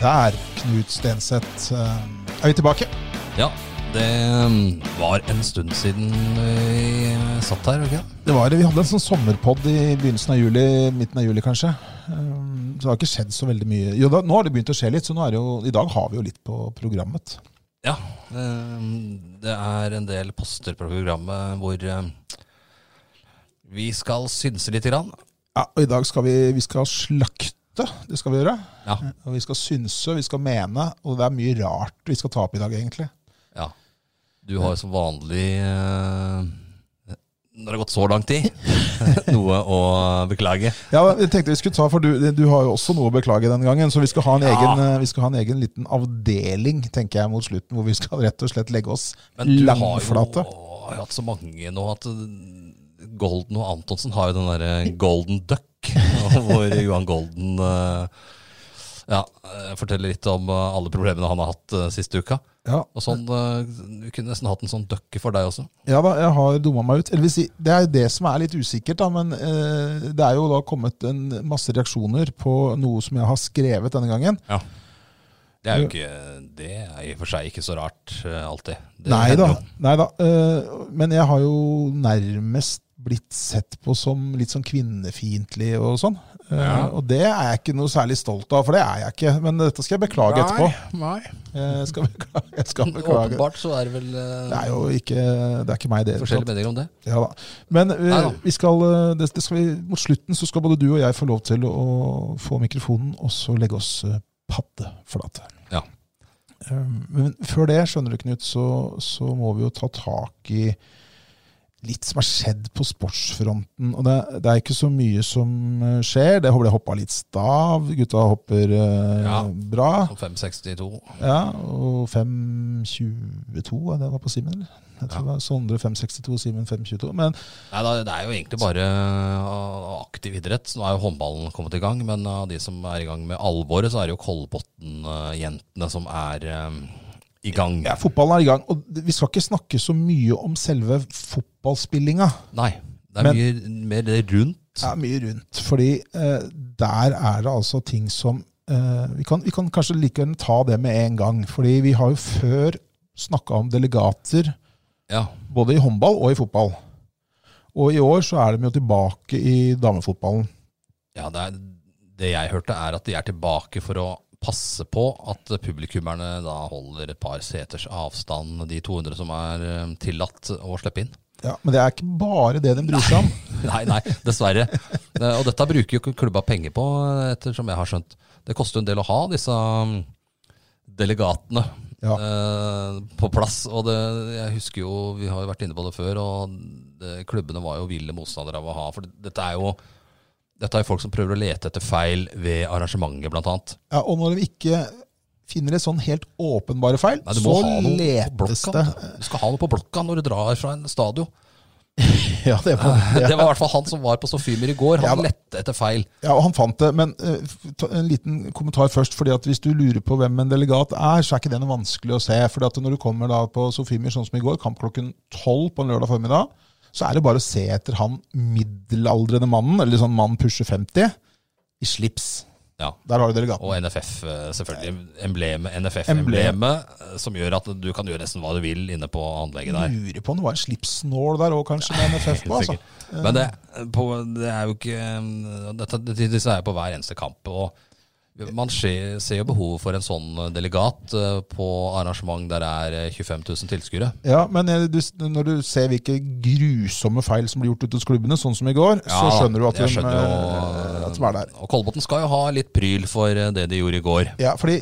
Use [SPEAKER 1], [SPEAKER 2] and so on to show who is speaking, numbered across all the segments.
[SPEAKER 1] Der, Knut Stenseth, eh, er vi tilbake.
[SPEAKER 2] Ja, det um, var en stund siden vi eh, satt her, ikke sant?
[SPEAKER 1] Det var, vi hadde en sånn sommerpod i begynnelsen av juli, midten av juli kanskje. Um, Så det har ikke skjedd så veldig mye. Jo, da, nå har det begynt å skje litt, så nå er det jo, i dag har vi jo litt på programmet.
[SPEAKER 2] Ja, eh, det er en del poster på programmet hvor eh, vi skal synse litt. Grann.
[SPEAKER 1] Ja, og i dag skal vi, vi skal slakte, det skal vi gjøre.
[SPEAKER 2] Ja,
[SPEAKER 1] Og vi skal synse, vi skal mene, og det er mye rart vi skal ta opp i dag egentlig.
[SPEAKER 2] ja. Du har jo som vanlig, eh, når det har gått så lang tid, noe å beklage.
[SPEAKER 1] Ja, jeg tenkte vi skulle ta, for du, du har jo også noe å beklage den gangen, så vi skal ha en,
[SPEAKER 2] Ja.
[SPEAKER 1] egen, eh, vi skal ha en egen liten avdeling, tenker jeg, mot slutten, hvor vi skal rett og slett legge oss
[SPEAKER 2] Men du
[SPEAKER 1] langflate.
[SPEAKER 2] har jo har jo hatt så mange nå at eh, Golden og Antonsen har jo den derre Golden Duck, hvor Johan Golden eh, ja, eh, forteller litt om eh, alle problemene han har hatt eh, siste uka.
[SPEAKER 1] Ja,
[SPEAKER 2] Og sånn, eh, Vi kunne nesten hatt en sånn dukke for deg også.
[SPEAKER 1] Ja da, jeg har dumma meg ut. Eller vil si, det er jo det som er litt usikkert, da, men eh, det er jo da kommet en masse reaksjoner på noe som jeg har skrevet denne gangen.
[SPEAKER 2] Det er jo ikke, det er i og for seg ikke så rart eh, alltid. Det
[SPEAKER 1] Nei
[SPEAKER 2] hender
[SPEAKER 1] da.
[SPEAKER 2] jo.
[SPEAKER 1] Nei da. eh, men jeg har jo nærmest blitt sett på som litt sånn kvinnefiendtlig og sånn. Eh,
[SPEAKER 2] Ja.
[SPEAKER 1] Og det er jeg ikke noe særlig stolt av, for det er jeg ikke. Men dette skal jeg beklage etterpå.
[SPEAKER 2] Nei.
[SPEAKER 1] Jeg skal beklage. Jeg skal beklage.
[SPEAKER 2] Åpenbart så er det vel eh,
[SPEAKER 1] Det er jo ikke, det er ikke meg, det.
[SPEAKER 2] forskjellige meninger om det.
[SPEAKER 1] Ja da. Men eh,
[SPEAKER 2] Neida.
[SPEAKER 1] vi skal, eh, det, det skal vi, mot slutten så skal både du og jeg få lov til å få mikrofonen, og så legge oss eh, paddeflate.
[SPEAKER 2] Ja.
[SPEAKER 1] Eh, Men før det, skjønner du, Knut, så, så må vi jo ta tak i litt som har skjedd på sportsfronten. Og det, det er ikke så mye som eh, skjer. Det ble hoppa litt stav. Gutta hopper eh,
[SPEAKER 2] Ja.
[SPEAKER 1] bra.
[SPEAKER 2] Som 562.
[SPEAKER 1] Ja, og 5.22, ja, det var på Simen, eller? Jeg tror det var Sondre 5.62, Simen 5.22. Men
[SPEAKER 2] Nei, da, det er jo egentlig bare uh, aktiv idrett. Så Nå er jo håndballen kommet i gang, men av de som er i gang med alvoret, så er det jo Kolbotn-jentene som er um, i gang.
[SPEAKER 1] Ja, fotballen er i gang. Og vi skal ikke snakke så mye om selve fotballspillinga.
[SPEAKER 2] Nei, det er
[SPEAKER 1] Men-
[SPEAKER 2] mye mer det rundt.
[SPEAKER 1] Det er mye rundt. Fordi eh, der er det altså ting som eh, vi, kan, vi kan kanskje like gjerne ta det med en gang. Fordi vi har jo før snakka om delegater
[SPEAKER 2] Ja,
[SPEAKER 1] både i håndball og i fotball. Og i år så er de jo tilbake i damefotballen.
[SPEAKER 2] ja det, er, det jeg hørte er at de er tilbake for å passe på at publikummerne da holder et par seters avstand, de 200 som er um, tillatt å slippe inn.
[SPEAKER 1] Ja, men det er ikke bare det de bryr seg om.
[SPEAKER 2] Nei, nei, dessverre. Eh, Og dette bruker jo klubba penger på, eh, ettersom jeg har skjønt. Det koster jo en del å ha disse mm, delegatene
[SPEAKER 1] Ja.
[SPEAKER 2] eh, på plass. Og det, jeg husker jo, vi har jo vært inne på det før, og det, klubbene var jo ville motstandere av å ha. For det- dette er jo dette er jo folk som prøver å lete etter feil ved arrangementet, blant annet.
[SPEAKER 1] Ja, og når de ikke finner et sånn helt åpenbare feil,
[SPEAKER 2] Nei, du
[SPEAKER 1] så
[SPEAKER 2] må ha noe på
[SPEAKER 1] letes
[SPEAKER 2] blokka.
[SPEAKER 1] det
[SPEAKER 2] Du skal ha noe på blokka når du drar fra en stadion.
[SPEAKER 1] Ja, det er på,
[SPEAKER 2] Det var i hvert fall han som var på Sofimer i går.
[SPEAKER 1] Ja,
[SPEAKER 2] Han
[SPEAKER 1] da.
[SPEAKER 2] lette etter feil.
[SPEAKER 1] Ja, og han fant det, men eh, f- ta- en liten kommentar først. fordi at Hvis du lurer på hvem en delegat er, så er ikke det noe vanskelig å se. fordi at Når du kommer da på Sofiemyr, sånn som i går, kamp klokken tolv på en lørdag formiddag, så er det bare å se etter han middelaldrende mannen, eller sånn mann pusher 50, i slips.
[SPEAKER 2] Ja.
[SPEAKER 1] Der har du delegaten.
[SPEAKER 2] Og NFF, eh, selvfølgelig. Emblemet,
[SPEAKER 1] Emblem.
[SPEAKER 2] NFF-emblemet, eh, som gjør at du kan gjøre nesten hva du vil inne på anlegget der.
[SPEAKER 1] Lurer på om det var en slipsnål der òg, kanskje, med NFF på. Mm. altså.
[SPEAKER 2] Sikkert. Men det, på, det er jo ikke eh, dette, dette, Disse er jo på hver eneste kamp. og man ser, ser jo behovet for en sånn delegat eh, på arrangement der det er eh, 25 000 tilskuere.
[SPEAKER 1] Ja, men eh, du, s- når du ser hvilke grusomme feil som blir gjort ute hos klubbene, sånn som i går, så
[SPEAKER 2] Ja,
[SPEAKER 1] skjønner du at
[SPEAKER 2] jeg
[SPEAKER 1] de,
[SPEAKER 2] skjønner
[SPEAKER 1] eh,
[SPEAKER 2] jo-
[SPEAKER 1] at de er der.
[SPEAKER 2] Og Kolbotn skal jo ha litt pryl for eh, det de gjorde i går.
[SPEAKER 1] Ja, fordi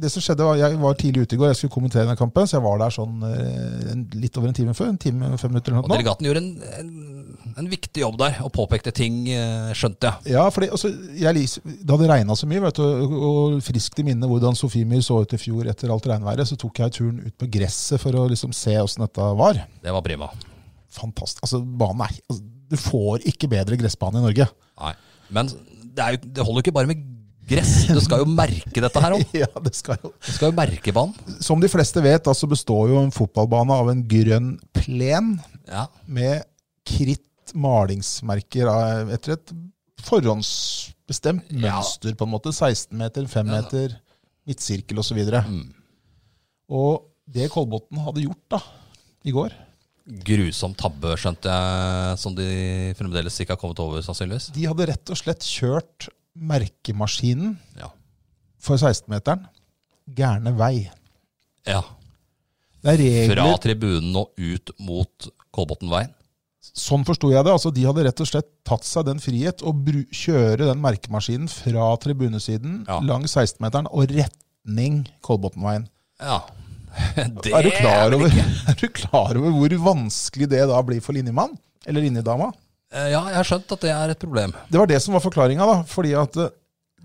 [SPEAKER 1] det som skjedde var, Jeg var tidlig ute i går, jeg skulle kommentere denne kampen. Så jeg var der sånn eh, en- litt over en time før. En time, fem minutter eller noe. sånt
[SPEAKER 2] Og
[SPEAKER 1] nå.
[SPEAKER 2] delegaten gjorde en, en en viktig jobb der, og påpekte ting, eh, skjønte jeg.
[SPEAKER 1] Ja, fordi altså, jeg, lis- Det hadde regna så mye, vet du, og- og friskt i minne hvordan Sofiemyr så ut i fjor etter alt regnværet. Så tok jeg turen ut på gresset for å liksom se åssen dette var.
[SPEAKER 2] Det var prima.
[SPEAKER 1] Fantastisk. Altså, banen er altså, Du får ikke bedre gressbane i Norge.
[SPEAKER 2] Nei. Men det, er jo, det holder jo ikke bare med gress, du skal jo merke dette her òg.
[SPEAKER 1] Ja, det skal jo.
[SPEAKER 2] Du skal jo merke banen.
[SPEAKER 1] Som de fleste vet, altså består jo en fotballbane av en grønn plen
[SPEAKER 2] Ja.
[SPEAKER 1] med kritt malingsmerker av- etter et forhåndsbestemt
[SPEAKER 2] Ja.
[SPEAKER 1] mønster, på en måte. 16 meter, 5 meter, midtsirkel osv. videre
[SPEAKER 2] Mm.
[SPEAKER 1] Og det Kolbotn hadde gjort da, i går
[SPEAKER 2] Grusom tabbe, skjønte jeg, som de fremdeles ikke har kommet over, sannsynligvis.
[SPEAKER 1] De hadde rett og slett kjørt merkemaskinen
[SPEAKER 2] Ja.
[SPEAKER 1] for 16-meteren gærne vei.
[SPEAKER 2] ja.
[SPEAKER 1] Det er regler
[SPEAKER 2] Fra tribunen og ut mot Kolbotnveien.
[SPEAKER 1] Sånn forsto jeg det. altså De hadde rett og slett tatt seg den frihet å bru kjøre den merkemaskinen fra tribunesiden
[SPEAKER 2] Ja.
[SPEAKER 1] langs 16-meteren og retning Kolbotnveien.
[SPEAKER 2] Ja. Det
[SPEAKER 1] Er du, klar
[SPEAKER 2] vel
[SPEAKER 1] over,
[SPEAKER 2] ikke-
[SPEAKER 1] er du klar over hvor vanskelig det da blir for linjemann? Eller linjedama?
[SPEAKER 2] Eh, Ja, jeg har skjønt at det er et problem.
[SPEAKER 1] Det var det som var forklaringa, da. Fordi at eh,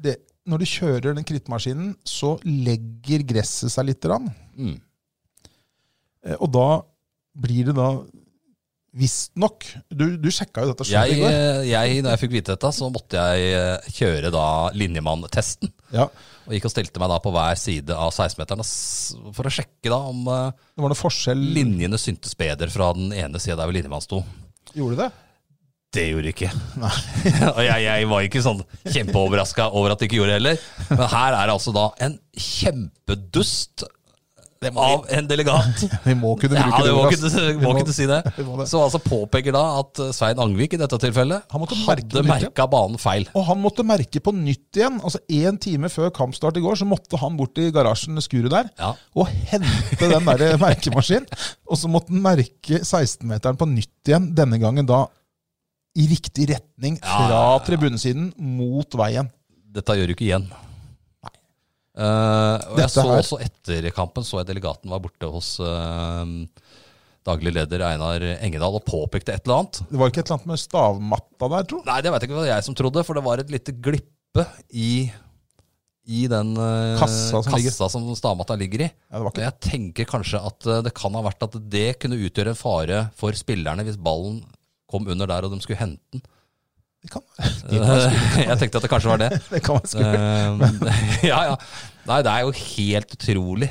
[SPEAKER 1] det, når du kjører den krittmaskinen, så legger gresset seg lite grann.
[SPEAKER 2] Mm.
[SPEAKER 1] Eh, Og da blir det da Visstnok Du, du sjekka jo dette selv
[SPEAKER 2] Jeg, eh,
[SPEAKER 1] i går.
[SPEAKER 2] jeg, når jeg fikk vite dette, så måtte jeg eh, kjøre da linjemanntesten.
[SPEAKER 1] Ja,
[SPEAKER 2] Og gikk og stilte meg da på hver side av 16-meteren ass, for å sjekke da om eh,
[SPEAKER 1] det var noe forskjell
[SPEAKER 2] linjene syntes bedre fra den ene sida der hvor linjemann sto.
[SPEAKER 1] Gjorde det?
[SPEAKER 2] Det gjorde ikke. og jeg, jeg var ikke sånn kjempeoverraska over at de ikke gjorde det heller. Men her er det altså da en kjempedust av en delegat.
[SPEAKER 1] Vi må kunne
[SPEAKER 2] Ja,
[SPEAKER 1] bruke
[SPEAKER 2] du
[SPEAKER 1] det.
[SPEAKER 2] må
[SPEAKER 1] ordet,
[SPEAKER 2] kunne,
[SPEAKER 1] ass.
[SPEAKER 2] må
[SPEAKER 1] Vi
[SPEAKER 2] kunne si det.
[SPEAKER 1] vi må det.
[SPEAKER 2] Så altså påpeker da at eh, Svein Angvik i dette tilfellet
[SPEAKER 1] Han måtte merke
[SPEAKER 2] hadde
[SPEAKER 1] det nytt, ja.
[SPEAKER 2] merka banen feil.
[SPEAKER 1] Og han måtte merke på nytt igjen. Altså Én time før kampstart i går så måtte han bort i garasjen, skuret der,
[SPEAKER 2] Ja.
[SPEAKER 1] og hente den der merkemaskinen. Og så måtte han merke 16-meteren på nytt igjen, denne gangen da i riktig retning
[SPEAKER 2] Ja,
[SPEAKER 1] fra
[SPEAKER 2] ja, ja.
[SPEAKER 1] tribunesiden mot veien.
[SPEAKER 2] Dette gjør du ikke igjen. Eh, og jeg
[SPEAKER 1] Dette
[SPEAKER 2] så
[SPEAKER 1] her-
[SPEAKER 2] også etter kampen så jeg delegaten var borte hos eh, daglig leder Einar Engedal og påpekte et eller annet.
[SPEAKER 1] Det var ikke et eller annet med stavmatta der, tro?
[SPEAKER 2] Nei, det veit jeg ikke hva jeg som trodde, for det var et lite glippe i, i den eh,
[SPEAKER 1] Kassa som ligger.
[SPEAKER 2] kassa som stavmatta ligger i.
[SPEAKER 1] Ja, det var
[SPEAKER 2] Og
[SPEAKER 1] ikke
[SPEAKER 2] jeg tenker kanskje at eh, det kan ha vært at det kunne utgjøre en fare for spillerne hvis ballen kom under der og de skulle hente den.
[SPEAKER 1] Det kan, det kan, være skummelt.
[SPEAKER 2] jeg tenkte at det kanskje var det.
[SPEAKER 1] det kan være skummelt.
[SPEAKER 2] Eh, ja, ja. Nei, det er jo helt utrolig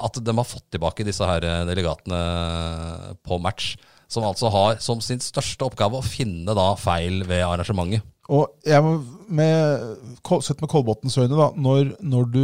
[SPEAKER 2] at de har fått tilbake disse her eh, delegatene eh, på match. Som altså har som sin største oppgave å finne da feil ved arrangementet.
[SPEAKER 1] Og jeg må med, Kol- sett med Kolbotns øyne, da, når, når du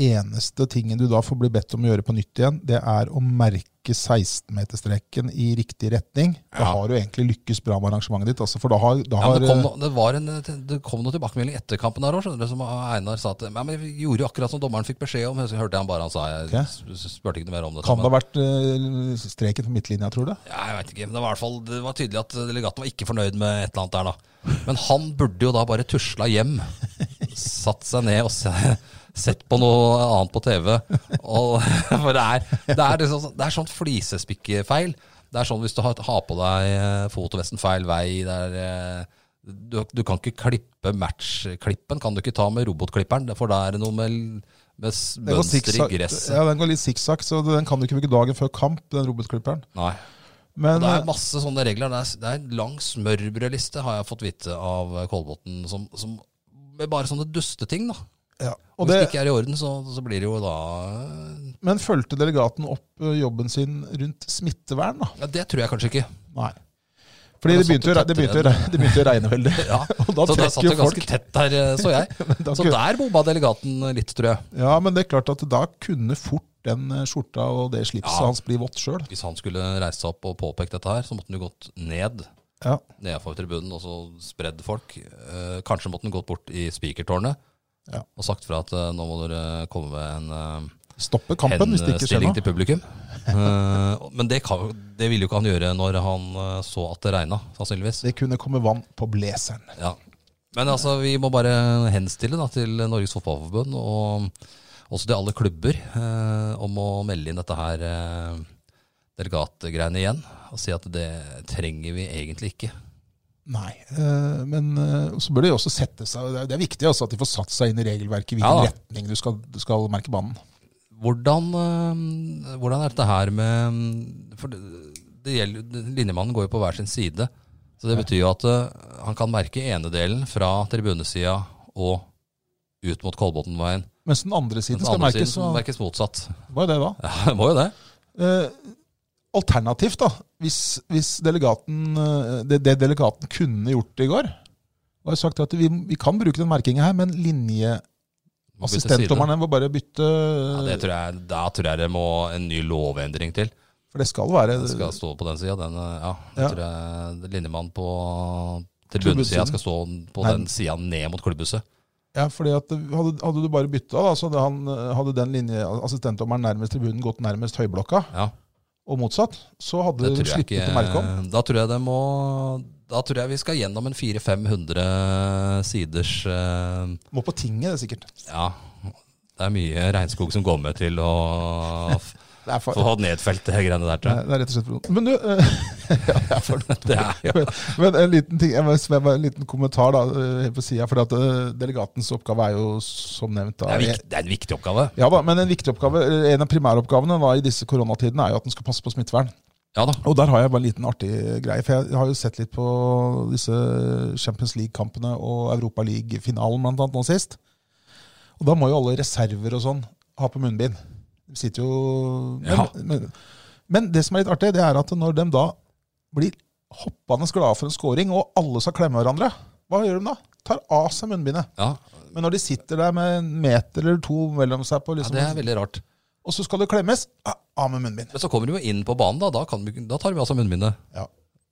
[SPEAKER 1] Eneste tingen du da får bli bedt om å gjøre på nytt igjen, det er å merke 16-meterstreken i riktig retning. Da
[SPEAKER 2] Ja.
[SPEAKER 1] har du egentlig lykkes bra med arrangementet ditt. Altså, for da har, da
[SPEAKER 2] Ja, men
[SPEAKER 1] har eh,
[SPEAKER 2] det, kom, no- det, var en, eh, det kom noe tilbakemelding etter kampen der òg, som Einar sa at Nei, men vi gjorde jo akkurat som dommeren fikk beskjed om. Så hørte jeg han bare han sa. Jeg
[SPEAKER 1] Ok.
[SPEAKER 2] s- s- spurte ikke noe mer om det.
[SPEAKER 1] Kan det ha vært eh, streken på midtlinja, tror du?
[SPEAKER 2] Ja, jeg vet ikke, men det var, i hvert fall, det var tydelig at delegaten var ikke fornøyd med et eller annet der, da. Men han burde jo da bare tusla hjem, satt seg ned og se, sett på noe annet på TV. Og, for det er, det, er liksom, sånn- det er sånn flisespikkefeil. Det er sånn hvis du har, har på deg eh, fotovesten feil vei, det er eh, du, du kan ikke klippe matchklippen, kan du ikke ta med robotklipperen, for da er det noe med, med s-
[SPEAKER 1] Den går
[SPEAKER 2] mønster i
[SPEAKER 1] sikksakk-
[SPEAKER 2] gresset.
[SPEAKER 1] Ja, den går litt sikksakk, så den kan du ikke bruke dagen før kamp, den robotklipperen.
[SPEAKER 2] Nei.
[SPEAKER 1] Men eh,
[SPEAKER 2] Og det er masse sånne regler. Det er, det er en lang smørbrødliste, har jeg fått vite av eh, Kolbotn, som, som med bare sånne dusteting, da.
[SPEAKER 1] ja, og
[SPEAKER 2] Hvis
[SPEAKER 1] det,
[SPEAKER 2] det ikke er i orden, så, så blir det jo da eh,
[SPEAKER 1] men fulgte delegaten opp eh, jobben sin rundt smittevern, da?
[SPEAKER 2] Ja, det tror jeg kanskje ikke.
[SPEAKER 1] Nei. Fordi det
[SPEAKER 2] Men da
[SPEAKER 1] begynte, jo,
[SPEAKER 2] satt
[SPEAKER 1] det,
[SPEAKER 2] det
[SPEAKER 1] begynte jo,
[SPEAKER 2] tettere
[SPEAKER 1] re- det begynte jo å regne veldig.
[SPEAKER 2] Ja.
[SPEAKER 1] Og da
[SPEAKER 2] så der satt
[SPEAKER 1] trekker
[SPEAKER 2] det
[SPEAKER 1] jo folk
[SPEAKER 2] ganske tett der, eh, så jeg.
[SPEAKER 1] da
[SPEAKER 2] Så
[SPEAKER 1] kunne-
[SPEAKER 2] der bomba delegaten litt, tror jeg.
[SPEAKER 1] Ja, men det er klart at da kunne fort den eh, skjorta og det slipset
[SPEAKER 2] Ja.
[SPEAKER 1] hans bli vått sjøl.
[SPEAKER 2] Hvis han skulle reise seg opp og påpekt dette her, så måtte han jo gått ned.
[SPEAKER 1] Ja.
[SPEAKER 2] Nedenfor tribunen, og så spredd folk. Eh, kanskje måtte han gått bort i spikertårnet
[SPEAKER 1] Ja.
[SPEAKER 2] og sagt fra at eh, nå må dere komme med en eh,
[SPEAKER 1] Stoppe kampen hvis det ikke skjer
[SPEAKER 2] henstilling
[SPEAKER 1] noe.
[SPEAKER 2] til publikum. Eh, men det, kan, det ville jo ikke han gjøre når han eh, så at det regna, sannsynligvis.
[SPEAKER 1] Det kunne komme vann på blazeren.
[SPEAKER 2] Ja. Men altså, vi må bare henstille da, til Norges Fotballforbund og også til alle klubber eh, om å melde inn dette her eh, delegatgreiene igjen og si at det trenger vi egentlig ikke.
[SPEAKER 1] Nei, eh, men eh, så bør de også sette seg Det er- det er viktig altså at de får satt seg inn i regelverket, hvilken
[SPEAKER 2] Ja da.
[SPEAKER 1] retning du skal, du skal merke banen.
[SPEAKER 2] Hvordan, eh, hvordan er dette her med For det, det gjelder, linjemannen går jo på hver sin side. Så det betyr jo at eh, han kan merke enedelen fra tribunesida og ut mot Kolbotnveien.
[SPEAKER 1] Mens den andre siden
[SPEAKER 2] Mens
[SPEAKER 1] skal
[SPEAKER 2] andre
[SPEAKER 1] merkes.
[SPEAKER 2] siden
[SPEAKER 1] Så,
[SPEAKER 2] merkes motsatt.
[SPEAKER 1] hva er det da?
[SPEAKER 2] Ja, det må jo det.
[SPEAKER 1] Eh, alternativt, da, hvis, hvis delegaten, eh, det, det delegaten kunne gjort i går var jo sagt at vi, vi kan bruke den merkingen her, men
[SPEAKER 2] Må bytte side.
[SPEAKER 1] linjeassistentdommerne må bare bytte
[SPEAKER 2] Ja, det tror jeg, da tror jeg det må en ny lovendring til.
[SPEAKER 1] For det skal være
[SPEAKER 2] Den skal stå på den sida. Den, eh, ja,
[SPEAKER 1] Ja.
[SPEAKER 2] jeg tror jeg linjemannen på
[SPEAKER 1] Klubbhuset.
[SPEAKER 2] tribunesida skal stå på
[SPEAKER 1] Nei.
[SPEAKER 2] den sida ned mot klubbhuset.
[SPEAKER 1] Ja, fordi at hadde, hadde du bare bytta, da, så hadde, han, hadde den linjeassistentdommeren nærmest tribunen gått nærmest høyblokka,
[SPEAKER 2] Ja,
[SPEAKER 1] og motsatt. Så hadde
[SPEAKER 2] det
[SPEAKER 1] du
[SPEAKER 2] tror jeg
[SPEAKER 1] sluppet å merke om.
[SPEAKER 2] ikke Da tror jeg det må Da tror jeg vi skal gjennom en 400-500 siders eh,
[SPEAKER 1] Må på tinget, det er sikkert.
[SPEAKER 2] Ja, det er mye regnskog som går med til å f-
[SPEAKER 1] Det er, for,
[SPEAKER 2] få nedfelt det greiene der,
[SPEAKER 1] det
[SPEAKER 2] tror jeg.
[SPEAKER 1] er rett og slett for dumt. Men du eh, ja, det er for dumt.
[SPEAKER 2] Det er jo
[SPEAKER 1] Men, men en liten ting, jeg må- jeg må- en liten kommentar da, eh, helt på siden, fordi at eh, delegatens oppgave er jo som nevnt
[SPEAKER 2] det
[SPEAKER 1] da, eh,
[SPEAKER 2] er, viktig, det er en viktig oppgave.
[SPEAKER 1] ja da, men en viktig oppgave, eh, en av primæroppgavene da, i disse koronatidene er jo at den skal passe på smittevern.
[SPEAKER 2] Ja da.
[SPEAKER 1] Og der har jeg bare en liten artig greie, for jeg har jo sett litt på disse Champions League-kampene og Europa League-finalen blant annet nå sist. Og da må jo alle reserver og sånn ha på munnbind. De sitter jo... Men,
[SPEAKER 2] Ja.
[SPEAKER 1] men, men det som er litt artig, det er at når de da blir hoppende glade for en scoring, og alle skal klemme hverandre, hva gjør de da? Tar av seg munnbindet.
[SPEAKER 2] Ja,
[SPEAKER 1] Men når de sitter der med en meter eller to mellom seg, på
[SPEAKER 2] ja,
[SPEAKER 1] liksom,
[SPEAKER 2] det er veldig rart.
[SPEAKER 1] og så skal det klemmes, ah, av med munnbind.
[SPEAKER 2] Men så kommer du jo inn på banen, da. Da, kan vi, da tar vi altså munnbindet.
[SPEAKER 1] Ja.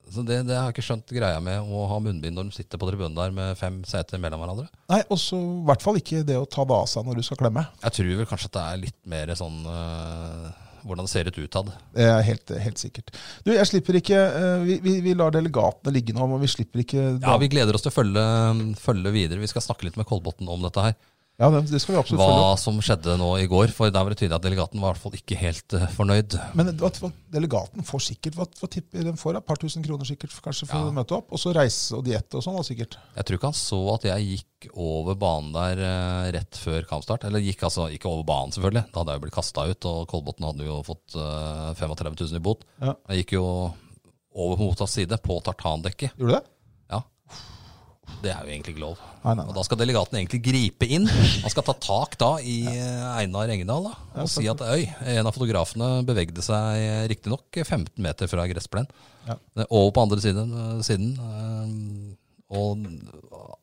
[SPEAKER 2] Så det, det har jeg ikke skjønt greia med å ha munnbind når de sitter på tribunen der med fem seter mellom hverandre.
[SPEAKER 1] Nei, og så i hvert fall ikke det å ta det av seg når du skal klemme.
[SPEAKER 2] Jeg tror vel kanskje at det er litt mer sånn øh, hvordan det ser ut utad.
[SPEAKER 1] Det er helt, helt sikkert. Du, jeg slipper ikke eh, Vi, vi, vi lar delegatene ligge nå, men vi slipper ikke
[SPEAKER 2] Ja, vi gleder oss til å følge, følge videre. Vi skal snakke litt med Kolbotn om dette her.
[SPEAKER 1] Ja, det, det skal vi absolutt følge opp.
[SPEAKER 2] Hva som skjedde nå i går. For der var det tydelig at delegaten var i hvert fall ikke helt øh, fornøyd.
[SPEAKER 1] Men hva- hva- delegaten får sikkert Hva, hva tipper den får? Et par tusen kroner sikkert for- kanskje for
[SPEAKER 2] Ja.
[SPEAKER 1] å møte opp? Og så reise og diett og sånn, da, sikkert.
[SPEAKER 2] Jeg tror ikke han så at jeg gikk over banen der øh, rett før kampstart. Eller gikk altså ikke over banen, selvfølgelig. Da hadde jeg jo blitt kasta ut, og Kolbotn hadde jo fått øh, 35 000 i bot.
[SPEAKER 1] Ja.
[SPEAKER 2] Jeg gikk jo over på motsatt side, på tartandekket.
[SPEAKER 1] Gjorde du det?
[SPEAKER 2] Ja. Det er jo egentlig ikke lov.
[SPEAKER 1] Nei, nei,
[SPEAKER 2] Og
[SPEAKER 1] nei.
[SPEAKER 2] da skal delegaten egentlig gripe inn. Han skal ta tak da i eh, Einar Engedal da, og si at øy, en av fotografene bevegde seg riktignok 15 meter fra gressplenen.
[SPEAKER 1] Ja.
[SPEAKER 2] Eh, Over på andre siden. eh, siden eh, og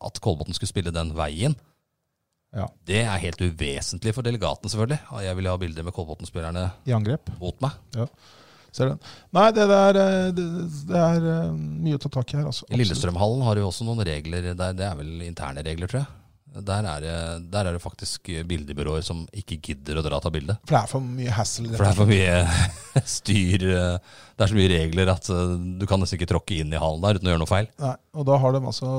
[SPEAKER 2] at Kolbotn skulle spille den veien,
[SPEAKER 1] Ja.
[SPEAKER 2] det er helt uvesentlig for delegaten, selvfølgelig. Og Jeg ville ha bilder med Kolbotn-spillerne
[SPEAKER 1] I angrep.
[SPEAKER 2] mot meg.
[SPEAKER 1] Ser du den? Nei, det der eh, det, det er eh, mye å ta tak i her, altså.
[SPEAKER 2] I Lillestrømhallen har de jo også noen regler der. Det er vel interne regler, tror jeg. Der er det, der er det faktisk bildebyråer som ikke gidder å dra og ta bilde.
[SPEAKER 1] For det er for mye hassle.
[SPEAKER 2] For det er for mye styr. eh, Det er så mye regler at eh, du kan nesten ikke tråkke inn i hallen der uten å gjøre noe feil.
[SPEAKER 1] Nei, og da har de altså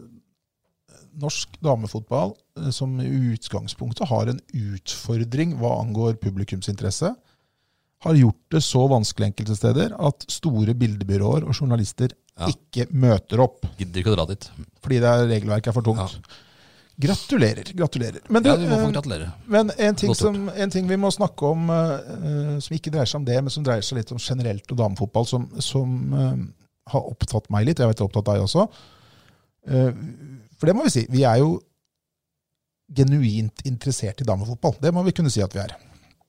[SPEAKER 1] eh, norsk damefotball eh, som i utgangspunktet har en utfordring hva angår publikumsinteresse, har gjort det så vanskelig enkelte steder at store bildebyråer og journalister
[SPEAKER 2] Ja.
[SPEAKER 1] ikke møter opp
[SPEAKER 2] Gidder ikke å dra dit.
[SPEAKER 1] fordi det er, regelverket er for tungt. Gratulerer. gratulerer. Men, du,
[SPEAKER 2] Ja, du må få
[SPEAKER 1] eh,
[SPEAKER 2] gratulere.
[SPEAKER 1] men en, ting
[SPEAKER 2] Godt gjort.
[SPEAKER 1] som, en ting vi må snakke om, eh, eh, som ikke dreier seg om det, men som dreier seg litt om generelt og damefotball, som, som eh, har opptatt meg litt, og jeg vet det har opptatt deg også. Eh, for det må vi si. Vi er jo genuint interessert i damefotball. Det må vi kunne si at vi er.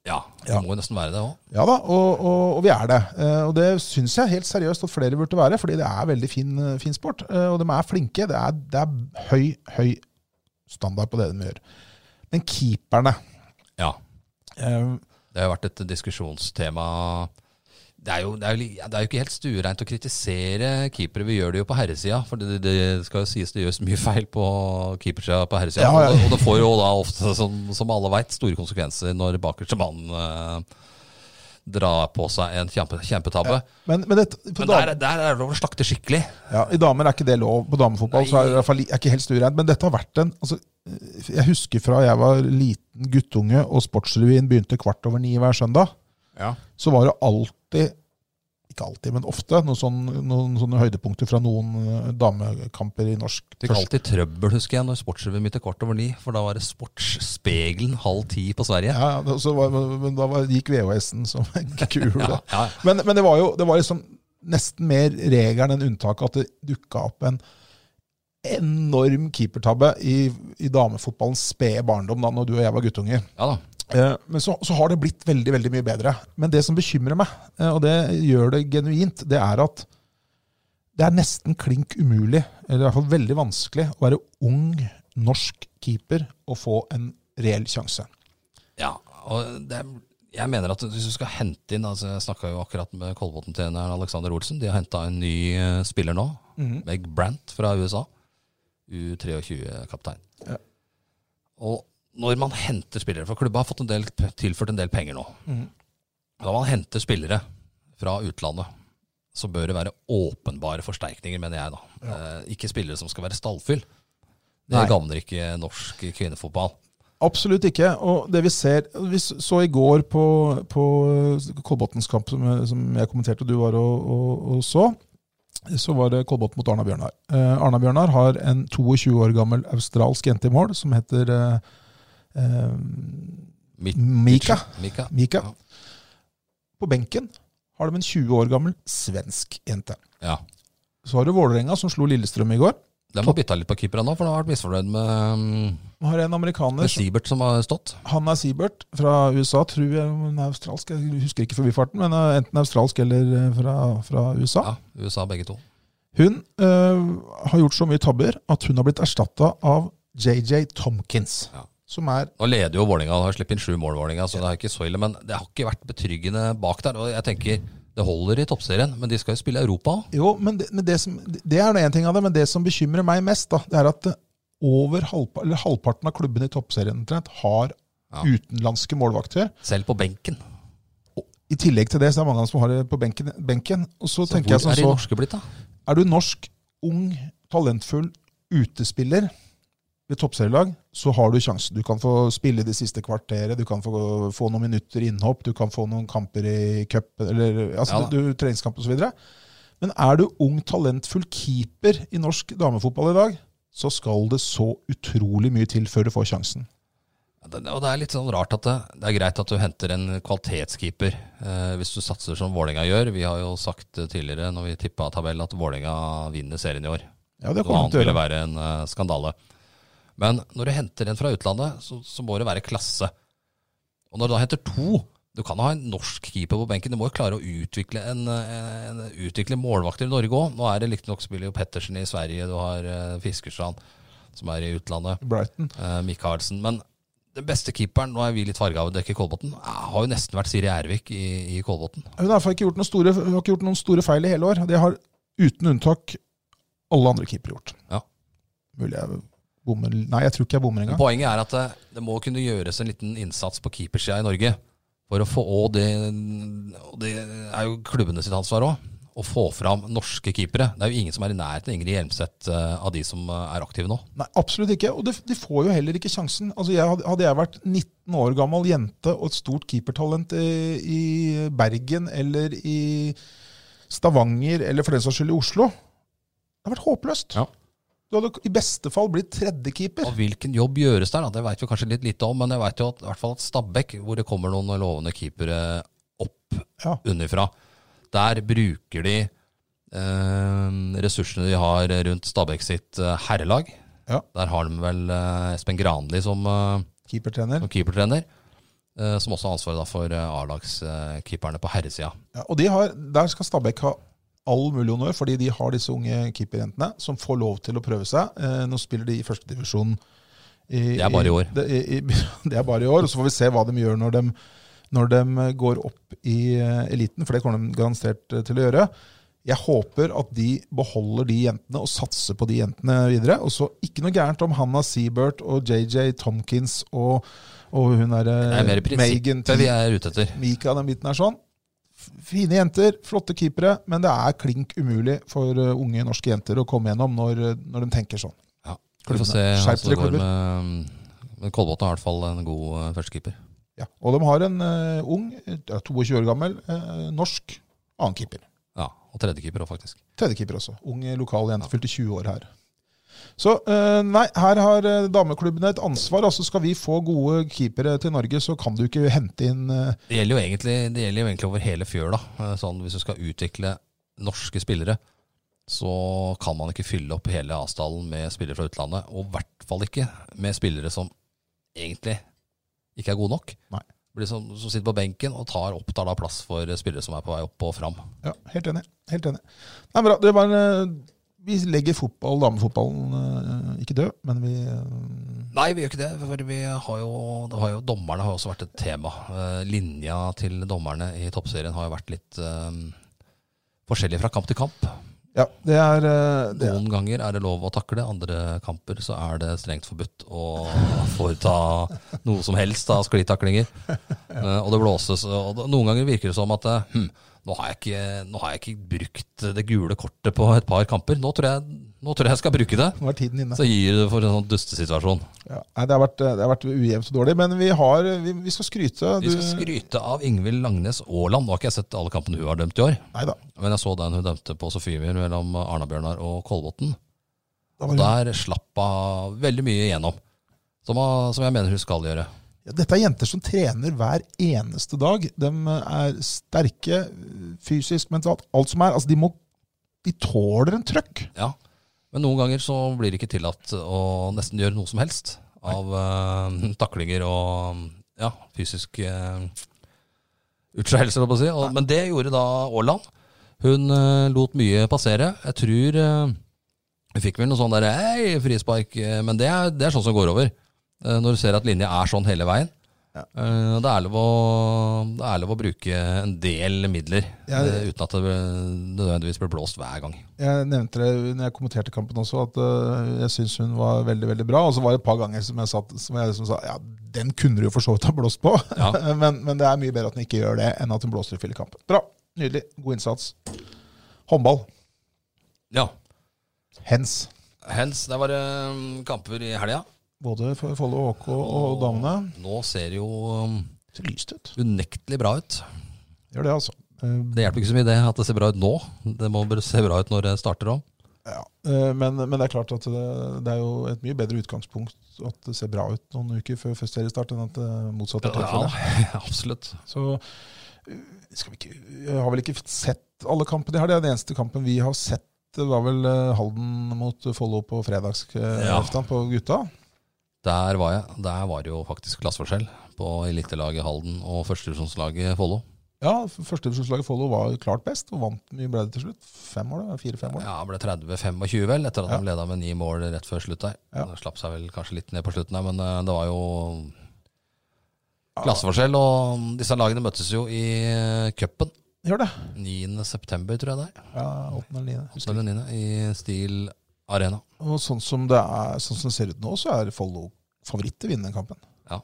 [SPEAKER 2] Ja, det
[SPEAKER 1] Ja.
[SPEAKER 2] må jo nesten være det òg.
[SPEAKER 1] Ja da, og, og, og vi er det. Eh, Og det syns jeg helt seriøst at flere burde være, fordi det er veldig fin, fin sport. eh, Og de er flinke. Det er, det er høy, høy standard på det de gjør. Men keeperne
[SPEAKER 2] Ja.
[SPEAKER 1] eh,
[SPEAKER 2] Det har jo vært et diskusjonstema. Det er, jo, det, er jo, li- ja, det er jo ikke helt stuereint å kritisere keepere. Vi gjør det jo på herresida, for det, det skal jo sies det gjøres mye feil på keepersida på herresida.
[SPEAKER 1] Ja, ja.
[SPEAKER 2] Og, det- og det får jo da ofte, som, som alle veit, store konsekvenser når bakerste mann eh, drar på seg en kjempe, kjempetabbe.
[SPEAKER 1] Men, men, det, på
[SPEAKER 2] Men
[SPEAKER 1] dam-
[SPEAKER 2] der, der er det lov å slakte skikkelig.
[SPEAKER 1] ja, i damer er ikke det lov. På damefotball så er det i
[SPEAKER 2] Nei.
[SPEAKER 1] hvert fall li- er ikke helt stuereint. Men dette har vært en altså, eh, Jeg husker fra jeg var liten guttunge og Sportsrevyen begynte kvart over ni hver søndag, så var det alltid ikke alltid, men ofte, noen sånne, noen sånne høydepunkter fra noen eh, damekamper i norsk
[SPEAKER 2] Det gikk
[SPEAKER 1] først.
[SPEAKER 2] alltid trøbbel, husker jeg, når sportsrevyen begynte kvart over ni. For da var det Sportsspegelen halv ti på Sverige.
[SPEAKER 1] Ja, ja, så var, men da var, gikk VHS-en som en kule.
[SPEAKER 2] Ja, ja.
[SPEAKER 1] Men, men det var jo det var liksom nesten mer regelen enn unntaket at det dukka opp en enorm keepertabbe i, i damefotballens spede barndom da når du og jeg var guttunger.
[SPEAKER 2] ja da.
[SPEAKER 1] Eh, Men så, så har det blitt veldig veldig mye bedre. Men det som bekymrer meg, eh, og det gjør det genuint, det er at det er nesten klink umulig, eller i hvert fall veldig vanskelig, å være ung norsk keeper og få en reell sjanse.
[SPEAKER 2] Ja, og det, er- jeg mener at hvis du skal hente inn altså Jeg snakka jo akkurat med Kolbotn-treneren Alexander Olsen. De har henta en ny eh, spiller nå.
[SPEAKER 1] Mhm.
[SPEAKER 2] Meg Brandt fra USA. U23-kaptein.
[SPEAKER 1] Ja.
[SPEAKER 2] Og når man henter spillere For klubba har fått en del, tilført en del penger nå.
[SPEAKER 1] Mhm.
[SPEAKER 2] Når man henter spillere fra utlandet, så bør det være åpenbare forsterkninger, mener jeg. da. Eh, ikke spillere som skal være stallfyll. Det
[SPEAKER 1] Nei.
[SPEAKER 2] gagner ikke norsk kvinnefotball.
[SPEAKER 1] Absolutt ikke. Og det vi ser Vi så i går på, på Kolbotns kamp, som, eh, som jeg kommenterte og du var og, og, og så. Så var det Kolbotn mot Arna Bjørnar. Eh, Arna Bjørnar har en 22 år gammel australsk jente i mål som heter eh, eh,
[SPEAKER 2] Mitt-
[SPEAKER 1] Mika.
[SPEAKER 2] Mika.
[SPEAKER 1] Mika.
[SPEAKER 2] Ja.
[SPEAKER 1] På benken har de en 20 år gammel svensk jente.
[SPEAKER 2] Ja.
[SPEAKER 1] Så har du Vålerenga, som slo Lillestrøm i går.
[SPEAKER 2] De har bytta litt på keeperne nå, for de har vært misfornøyd med, um,
[SPEAKER 1] De har en amerikaner
[SPEAKER 2] med Sibert som har stått.
[SPEAKER 1] Hanna Sibert fra USA, tror jeg hun er australsk, jeg husker ikke forbifarten, men eh, enten australsk eller eh, fra, fra USA.
[SPEAKER 2] Ja, USA begge to.
[SPEAKER 1] Hun eh, har gjort så mye tabber at hun har blitt erstatta av JJ Tomkins,
[SPEAKER 2] Ja.
[SPEAKER 1] som er
[SPEAKER 2] Nå leder jo Vålerenga og har sluppet inn sju mål, Vålerenga, så det er ikke så ille. Men det har ikke vært betryggende bak der. Og jeg tenker, det holder i toppserien, men de skal jo spille i Europa.
[SPEAKER 1] Jo, men det, men det, som, det er nå én ting av det, men det som bekymrer meg mest, da, det er at eh, over halvpa, eller halvparten av klubbene i toppserien omtrent har
[SPEAKER 2] Ja.
[SPEAKER 1] utenlandske målvakter.
[SPEAKER 2] Selv på benken.
[SPEAKER 1] Og I tillegg til det så er det mange av dem som har det på benken. benken. Og så,
[SPEAKER 2] Så
[SPEAKER 1] tenker
[SPEAKER 2] hvor
[SPEAKER 1] jeg som
[SPEAKER 2] er de
[SPEAKER 1] så
[SPEAKER 2] norske blitt, da?
[SPEAKER 1] Er du norsk, ung, talentfull utespiller ved toppserielag, så har du sjansen. Du kan få spille det siste kvarteret, du kan få, få noen minutter innhopp, du kan få noen kamper i cup, eller altså,
[SPEAKER 2] Ja da.
[SPEAKER 1] du, treningskamp osv. Men er du ung, talentfull keeper i norsk damefotball i dag, så skal det så utrolig mye til før du får sjansen.
[SPEAKER 2] Ja, det- Og det er litt sånn rart at det, det er greit at du henter en kvalitetskeeper eh, hvis du satser som Vålerenga gjør. Vi har jo sagt eh, tidligere når vi tippa tabell at Vålerenga vinner serien i år.
[SPEAKER 1] Ja, det kommer
[SPEAKER 2] Noe
[SPEAKER 1] de
[SPEAKER 2] annet
[SPEAKER 1] til å
[SPEAKER 2] ville
[SPEAKER 1] gjøre.
[SPEAKER 2] være en eh, skandale. Men når du henter en fra utlandet, så, så må det være klasse. Og når du da henter to Du kan ha en norsk keeper på benken. Du må jo klare å utvikle, en, eh, en, utvikle målvakter i Norge òg. Nå er det riktignok spiller jo Pettersen i Sverige, du har eh, Fiskerstrand som er i utlandet,
[SPEAKER 1] Brighton.
[SPEAKER 2] eh, Michaelsen. Men den beste keeperen, nå er vi litt farga av å dekke Kolbotn, eh, har jo nesten vært Siri Ervik i, i Kolbotn.
[SPEAKER 1] Hun har i hvert fall ikke gjort noen store, hun har ikke gjort noen store feil i hele år. Det har uten unntak alle andre keepere gjort.
[SPEAKER 2] Ja.
[SPEAKER 1] Mulig jeg bommer Nei, jeg tror ikke jeg bommer engang.
[SPEAKER 2] Poenget er at det, det må kunne gjøres en liten innsats på keepersida i Norge. For å få, og det, og det er jo klubbene sitt ansvar òg, å få fram norske keepere. Det er jo ingen som er i nærheten av Ingrid Hjelmseth eh, av de som eh, er aktive nå.
[SPEAKER 1] Nei, Absolutt ikke. Og de, de får jo heller ikke sjansen. Altså, jeg, hadde- Hadde jeg vært 19 år gammel jente og et stort keepertalent i, i Bergen eller i Stavanger, eller for den saks skyld i Oslo Det hadde vært håpløst.
[SPEAKER 2] Ja.
[SPEAKER 1] Du hadde i beste fall blitt tredjekeeper.
[SPEAKER 2] Og hvilken jobb gjøres der, da? det veit vi kanskje litt lite om. Men jeg veit jo at, i hvert fall at Stabæk, hvor det kommer noen lovende keepere opp
[SPEAKER 1] Ja.
[SPEAKER 2] underfra, der bruker de eh, ressursene de har rundt Stabæk sitt eh, herrelag.
[SPEAKER 1] Ja.
[SPEAKER 2] Der har de vel eh, Espen Granli som eh,
[SPEAKER 1] Keepertrener.
[SPEAKER 2] som keepertrener. eh, Som også har ansvaret da for eh, A-lagskeeperne på herresida.
[SPEAKER 1] Ja, og de har, der skal Stabæk ha all mulig honnør, fordi de har disse unge keeperjentene som får lov til å prøve seg. Eh, nå spiller de i førstedivisjon.
[SPEAKER 2] Det er bare i år.
[SPEAKER 1] Det, i, i, det er bare i år, og så får vi se hva de gjør når de, når de går opp i eh, eliten, for det kommer de garantert eh, til å gjøre. Jeg håper at de beholder de jentene og satser på de jentene videre. Og så ikke noe gærent om Hannah Seabert og JJ Tomkins og, og hun eh,
[SPEAKER 2] Det er mer
[SPEAKER 1] derre Megan
[SPEAKER 2] prinsippet vi er ute etter.
[SPEAKER 1] Mika den biten er sånn. F- Fine jenter, flotte keepere, men det er klink umulig for uh, unge norske jenter å komme gjennom når, uh, når de tenker sånn.
[SPEAKER 2] Ja. Vi får se
[SPEAKER 1] Skjerp
[SPEAKER 2] hvordan
[SPEAKER 1] dere,
[SPEAKER 2] det går med eh, men Kolbotn har i hvert fall en god eh, førstekeeper.
[SPEAKER 1] eh, Ja. Og de har en uh, ung, uh, 22 år gammel, uh, norsk eh, annen keeper.
[SPEAKER 2] Og tredjekeeper òg, faktisk.
[SPEAKER 1] Tredjekeeper også. Ung eh, lokal jente. Fylte 20 år her. Så eh, nei, her har eh, dameklubbene et ansvar. altså Skal vi få gode keepere til Norge, så kan du ikke hente inn eh,
[SPEAKER 2] Det gjelder jo egentlig, det gjelder jo egentlig over hele fjøla. Eh, Sånn, hvis du skal utvikle norske spillere, så kan man ikke fylle opp hele avstanden med spillere fra utlandet. Og i hvert fall ikke med spillere som egentlig ikke er gode nok.
[SPEAKER 1] Nei.
[SPEAKER 2] Blir som, som sitter på benken og tar, opptar da plass for spillere som er på vei opp og fram.
[SPEAKER 1] Ja, helt enig. Helt enig. Nei, bra. Det var, eh, vi legger fotball, damefotballen eh, ikke død, men vi eh,
[SPEAKER 2] Nei, vi gjør ikke det. For vi har jo, det har jo, dommerne har jo også vært et tema. Eh, Linja til dommerne i toppserien har jo vært litt eh, forskjellig fra kamp til kamp.
[SPEAKER 1] Ja, det er, eh, det er
[SPEAKER 2] Noen ganger er det lov å takle, andre kamper så er det strengt forbudt å foreta noe som helst av sklitaklinger. Eh, Og det blåses. Og det- noen ganger virker det som at eh, hm, nå, har jeg ikke, nå har jeg ikke brukt det gule kortet på et par kamper. Nå tror jeg, nå tror jeg jeg skal bruke det.
[SPEAKER 1] Nå er tiden inne.
[SPEAKER 2] Så gir det for en sånn dustesituasjon.
[SPEAKER 1] Ja. Nei, det, har vært, eh, det har vært ujevnt og dårlig, men vi, har, vi, vi skal skryte.
[SPEAKER 2] Vi skal skryte av Ingvild Langnes Aaland. Nå har ikke jeg sett alle kampene hun har dømt i år.
[SPEAKER 1] Nei da.
[SPEAKER 2] Men jeg så den hun dømte på Sofiemyr mellom Arna-Bjørnar og Kolbotn.
[SPEAKER 1] da
[SPEAKER 2] Og
[SPEAKER 1] var det-
[SPEAKER 2] der slapp hun veldig mye igjennom. Som, hun- som jeg mener hun skal gjøre.
[SPEAKER 1] ja, dette er jenter som trener hver eneste dag. De eh, er sterke eh, fysisk, mentalt, alt som er. Altså, de, må, de tåler en trøkk.
[SPEAKER 2] Ja. Men noen ganger så blir det ikke tillatt å nesten gjøre noe som helst av eh, taklinger og ja, fysisk uh, utskeielse, holdt jeg på å si. Og, men det gjorde da Aaland. Hun eh, lot mye passere. Jeg tror eh, hun fikk vel noe sånn der Hei, frispark. eh, men det er, det er sånn som går over. eh, når du ser at linja er sånn hele veien. Eh, det, er lov å, det er lov å bruke en del midler
[SPEAKER 1] Ja, det-
[SPEAKER 2] eh, uten at det nødvendigvis blir blåst hver gang.
[SPEAKER 1] Jeg nevnte det når jeg kommenterte kampen også, at øh, jeg syns hun var veldig veldig bra. Og så var det et par ganger som jeg, satt, som jeg liksom sa ja, den kunne du jo for så vidt ha blåst på.
[SPEAKER 2] Ja.
[SPEAKER 1] men, men det er mye bedre at hun ikke gjør det, enn at hun blåser i fille kampen. Bra. Nydelig. God innsats. Håndball.
[SPEAKER 2] Ja,
[SPEAKER 1] Hens.
[SPEAKER 2] Hens, det var eh, kamper i helga.
[SPEAKER 1] Både for Follo HK og damene.
[SPEAKER 2] Nå ser det jo eh,
[SPEAKER 1] Det lyste ut.
[SPEAKER 2] unektelig bra ut.
[SPEAKER 1] Gjør det, altså. Eh,
[SPEAKER 2] Det hjelper ikke så mye det at det ser bra ut nå. Det må bare se bra ut når det starter òg.
[SPEAKER 1] Ja. Eh, Men, men det er klart at det, det er jo et mye bedre utgangspunkt at det ser bra ut noen uker før før seriestart, enn at det motsatte er tilfellet.
[SPEAKER 2] absolutt.
[SPEAKER 1] Så øh, skal vi ikke, jeg har vel ikke sett alle kampene her. Det er den eneste kampen vi har sett. Det var vel eh, Halden mot Follo på
[SPEAKER 2] Ja.
[SPEAKER 1] fredagsaften på gutta.
[SPEAKER 2] Der var jeg. Der var det jo faktisk klasseforskjell på elitelaget Halden og førstedivisjonslaget Follo.
[SPEAKER 1] Ja, Førstedivisjonslaget Follo var klart best, og vant mye ble det til slutt. Fem år, da? Fire-fem år? da.
[SPEAKER 2] Ja, ble 30-25 vel, etter at
[SPEAKER 1] Ja.
[SPEAKER 2] de leda med ni mål rett før slutt der.
[SPEAKER 1] Ja.
[SPEAKER 2] Det Slapp seg vel kanskje litt ned på slutten der, men eh, det var jo klasseforskjell. Og disse lagene møttes jo i eh, cupen
[SPEAKER 1] Gjør det.
[SPEAKER 2] 9.9., tror jeg det er.
[SPEAKER 1] Ja, åttende eller niende. husker
[SPEAKER 2] Oppdal og Nina i Stil Arena.
[SPEAKER 1] ikke. Og sånn som, det er, sånn som det ser ut nå, så er Follo favoritt til å vinne den kampen.
[SPEAKER 2] Ja.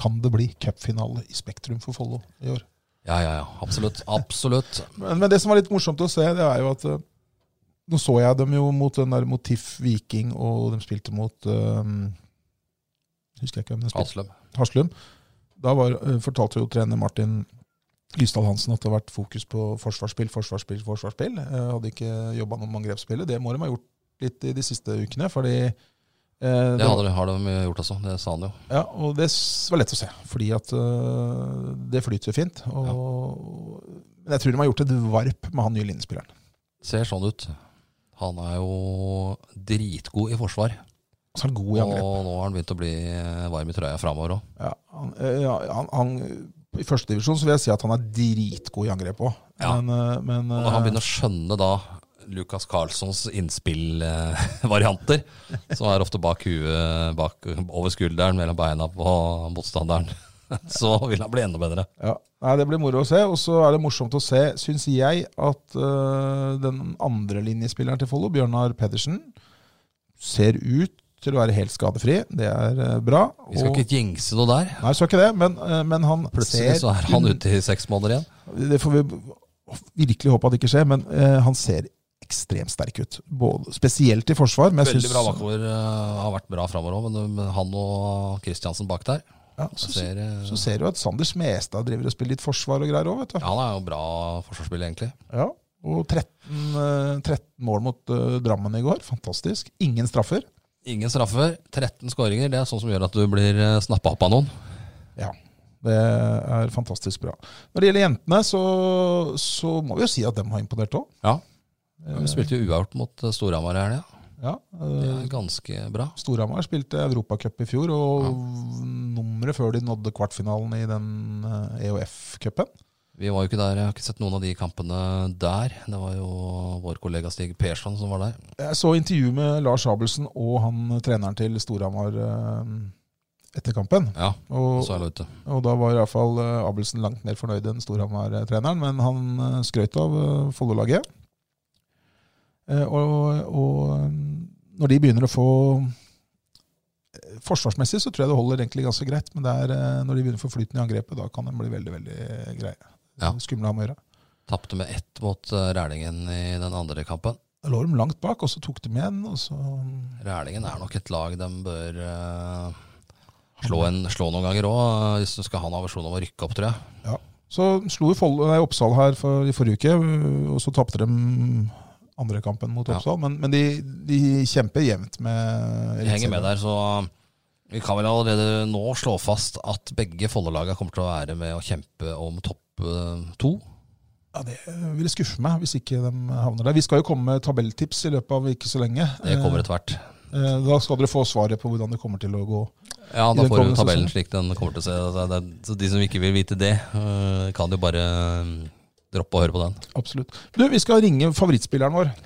[SPEAKER 1] Kan det bli cupfinale i Spektrum for Follo i år?
[SPEAKER 2] Ja, ja, ja. Absolutt. Absolutt.
[SPEAKER 1] Men, men det som var litt morsomt å se, det er jo at eh, Nå så jeg dem jo mot den der mot TIFF Viking, og de spilte mot eh, Husker jeg ikke hvem de spilte.
[SPEAKER 2] Aslum.
[SPEAKER 1] Haslum. Da var, eh, fortalte jo trener Martin Lysdal Hansen at det har vært fokus på forsvarsspill, forsvarsspill, forsvarsspill. Eh, hadde ikke jobba noe med angrepsspillet. Det må de ha gjort litt i de siste ukene, fordi eh,
[SPEAKER 2] Det
[SPEAKER 1] det-
[SPEAKER 2] har de, har de gjort også. Det sa han jo.
[SPEAKER 1] ja, og det s- var lett å se, fordi at øh, det flyter jo fint. Og, Men jeg tror de har gjort et varp med han nye linjespilleren.
[SPEAKER 2] Ser sånn ut. Han er jo dritgod i forsvar.
[SPEAKER 1] Så er han Sånn god
[SPEAKER 2] Og
[SPEAKER 1] i angrep.
[SPEAKER 2] nå har han begynt å bli eh, varm i trøya framover òg.
[SPEAKER 1] Ja, han, øh, ja, han, han, I førstedivisjon vil jeg si at han er dritgod i angrep òg.
[SPEAKER 2] Ja.
[SPEAKER 1] Men, øh, men
[SPEAKER 2] Når han begynner å skjønne da Lucas Carlssons innspillvarianter, som er ofte bak huet, bak, over skulderen, mellom beina på motstanderen, så vil han bli enda bedre.
[SPEAKER 1] ja. Nei, Det blir moro å se. Og så er det morsomt å se, syns jeg, at øh, den andre linjespilleren til Follo, Bjørnar Pedersen, ser ut til å være helt skadefri. Det er øh, bra.
[SPEAKER 2] Vi skal
[SPEAKER 1] og-
[SPEAKER 2] ikke jinxe noe der.
[SPEAKER 1] Nei, så ikke det, men, øh, men han
[SPEAKER 2] Plutselig så er han
[SPEAKER 1] un-
[SPEAKER 2] ute i seks måneder igjen.
[SPEAKER 1] Det får vi virkelig håpe at det ikke skjer, men eh, han ser ekstremt sterk ut. Både, spesielt i forsvar. Men jeg
[SPEAKER 2] Veldig
[SPEAKER 1] syns,
[SPEAKER 2] bra bakover. eh, har vært bra framover òg, men men han og Kristiansen bak der
[SPEAKER 1] Ja,
[SPEAKER 2] jeg
[SPEAKER 1] så, så,
[SPEAKER 2] ser, eh,
[SPEAKER 1] så ser du at Sander Smestad driver og spiller litt forsvar og greier òg, vet du.
[SPEAKER 2] ja, Han er jo bra forsvarsspiller, egentlig.
[SPEAKER 1] Ja. Og 13, eh, 13 mål mot eh, Drammen i går. Fantastisk. Ingen straffer.
[SPEAKER 2] Ingen straffer, 13 skåringer. Det er sånn som gjør at du blir snappa opp av noen.
[SPEAKER 1] Ja, det er fantastisk bra. Når det gjelder jentene, så, så må vi jo si at dem har imponert òg.
[SPEAKER 2] Ja. Vi spilte jo uavgjort mot eh, Storhamar i helga.
[SPEAKER 1] Ja,
[SPEAKER 2] Det
[SPEAKER 1] eh,
[SPEAKER 2] er ganske bra.
[SPEAKER 1] Storhamar spilte Europacup i fjor, og nummeret før de nådde kvartfinalen i den eh, EOF-cupen.
[SPEAKER 2] Vi var jo ikke der, Jeg har ikke sett noen av de kampene der. Det var jo vår kollega Stig Persson som var der.
[SPEAKER 1] Jeg så intervju med Lars Abelsen og han treneren til Storhamar eh, etter kampen.
[SPEAKER 2] Ja, og
[SPEAKER 1] Og,
[SPEAKER 2] så er det ute.
[SPEAKER 1] og da var iallfall eh, Abelsen langt mer fornøyd enn Storhamar-treneren, men han eh, skrøt av eh, Follo-laget. Eh, Og, og eh, når de begynner å få eh, Forsvarsmessig så tror jeg det holder egentlig ganske greit, men det er eh, når de begynner å få flyten i angrepet, da kan de bli veldig veldig greie.
[SPEAKER 2] Ja.
[SPEAKER 1] Skumle å ha med å gjøre.
[SPEAKER 2] Tapte med ett mot eh, Rælingen i den andre kampen.
[SPEAKER 1] Da lå de langt bak, og så tok de igjen, og så
[SPEAKER 2] Rælingen er nok et lag de bør eh, slå, en, slå noen ganger òg, hvis du skal ha en aversjon om å rykke opp, tror jeg.
[SPEAKER 1] Så slo jo Foll- nei, Oppsal her for, i forrige uke, øh, og så tapte de andre kampen mot
[SPEAKER 2] Ja.
[SPEAKER 1] Oppsal. Men, men de, de kjemper jevnt med
[SPEAKER 2] Vi henger med der, så eh, vi kan vel allerede nå slå fast at begge Follo-laga kommer til å være med å kjempe om topp eh, to.
[SPEAKER 1] Ja, det ville skuffe meg hvis ikke de havner der. Vi skal jo komme med tabelltips i løpet av ikke så lenge.
[SPEAKER 2] Det kommer etter hvert.
[SPEAKER 1] Eh, Da skal dere få svaret på hvordan det kommer til å gå.
[SPEAKER 2] Ja,
[SPEAKER 1] i
[SPEAKER 2] da
[SPEAKER 1] den
[SPEAKER 2] får du
[SPEAKER 1] kommende
[SPEAKER 2] tabellen
[SPEAKER 1] sesongen.
[SPEAKER 2] slik den kommer til å se. Så det er- Så de som ikke vil vite det, eh, kan jo bare eh, droppe å høre på den.
[SPEAKER 1] Absolutt. Du, vi skal ringe favorittspilleren vår.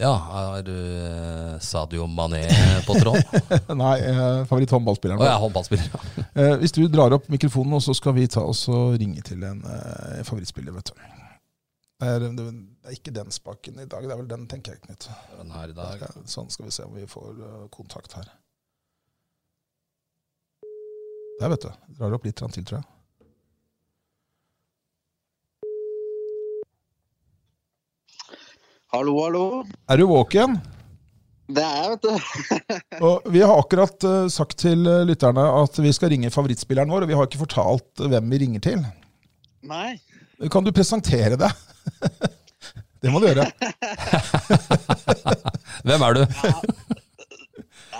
[SPEAKER 2] Ja, er du eh, Sadio Mané på tråden?
[SPEAKER 1] Nei, eh,
[SPEAKER 2] Å,
[SPEAKER 1] favoritthåndballspilleren
[SPEAKER 2] jeg
[SPEAKER 1] vår.
[SPEAKER 2] er håndballspiller. ja.
[SPEAKER 1] Eh, Hvis du drar opp mikrofonen, og så skal vi ta oss og ringe til en eh, favorittspiller, vet du. Det er, det er ikke den spaken i dag, det er vel den, tenker jeg, Knut.
[SPEAKER 2] Den her i dag.
[SPEAKER 1] Der, Sånn skal vi se om vi får eh, kontakt her. Der, vet du. Drar opp litt grann til, tror jeg.
[SPEAKER 3] Hallo, hallo.
[SPEAKER 1] Er du våken?
[SPEAKER 3] Det er jeg, vet du.
[SPEAKER 1] Og vi har akkurat eh, sagt til eh, lytterne at vi skal ringe favorittspilleren vår, og vi har ikke fortalt eh, hvem vi ringer til.
[SPEAKER 3] Nei.
[SPEAKER 1] Kan du presentere deg? det må du gjøre.
[SPEAKER 2] Hvem er du?
[SPEAKER 3] Det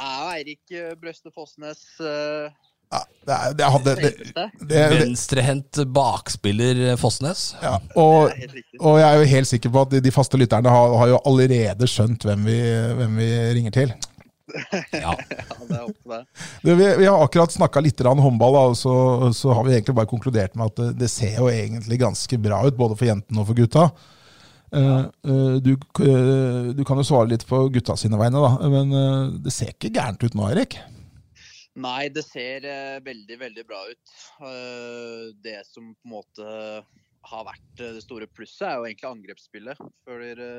[SPEAKER 3] er jo Eirik eh, Brøste Fossnes. eh,
[SPEAKER 1] Ja, det, er, det, hadde, det, det,
[SPEAKER 3] høyeste.
[SPEAKER 1] Eh, det,
[SPEAKER 2] Venstrehendt bakspiller eh, Fossnes.
[SPEAKER 1] ja.
[SPEAKER 3] Det
[SPEAKER 1] Og,
[SPEAKER 3] er helt riktig.
[SPEAKER 1] og jeg er jo helt sikker på at de- de faste lytterne har, har jo allerede skjønt hvem vi, hvem vi ringer til.
[SPEAKER 2] Ja.
[SPEAKER 3] Ja, det er opp til deg.
[SPEAKER 1] Du, vi, vi har akkurat snakka litt grann håndball, da, og så, så har vi egentlig bare konkludert med at det, det ser jo egentlig ganske bra ut, både for jentene og for gutta. Eh, eh, du, k- eh, du kan jo svare litt på gutta sine vegne, da, men eh, det ser ikke gærent ut nå, Erik.
[SPEAKER 3] Nei, det ser eh, veldig, veldig bra ut. Eh, det som på en måte har vært eh, det store plusset, er jo egentlig angrepsspillet. For eh, det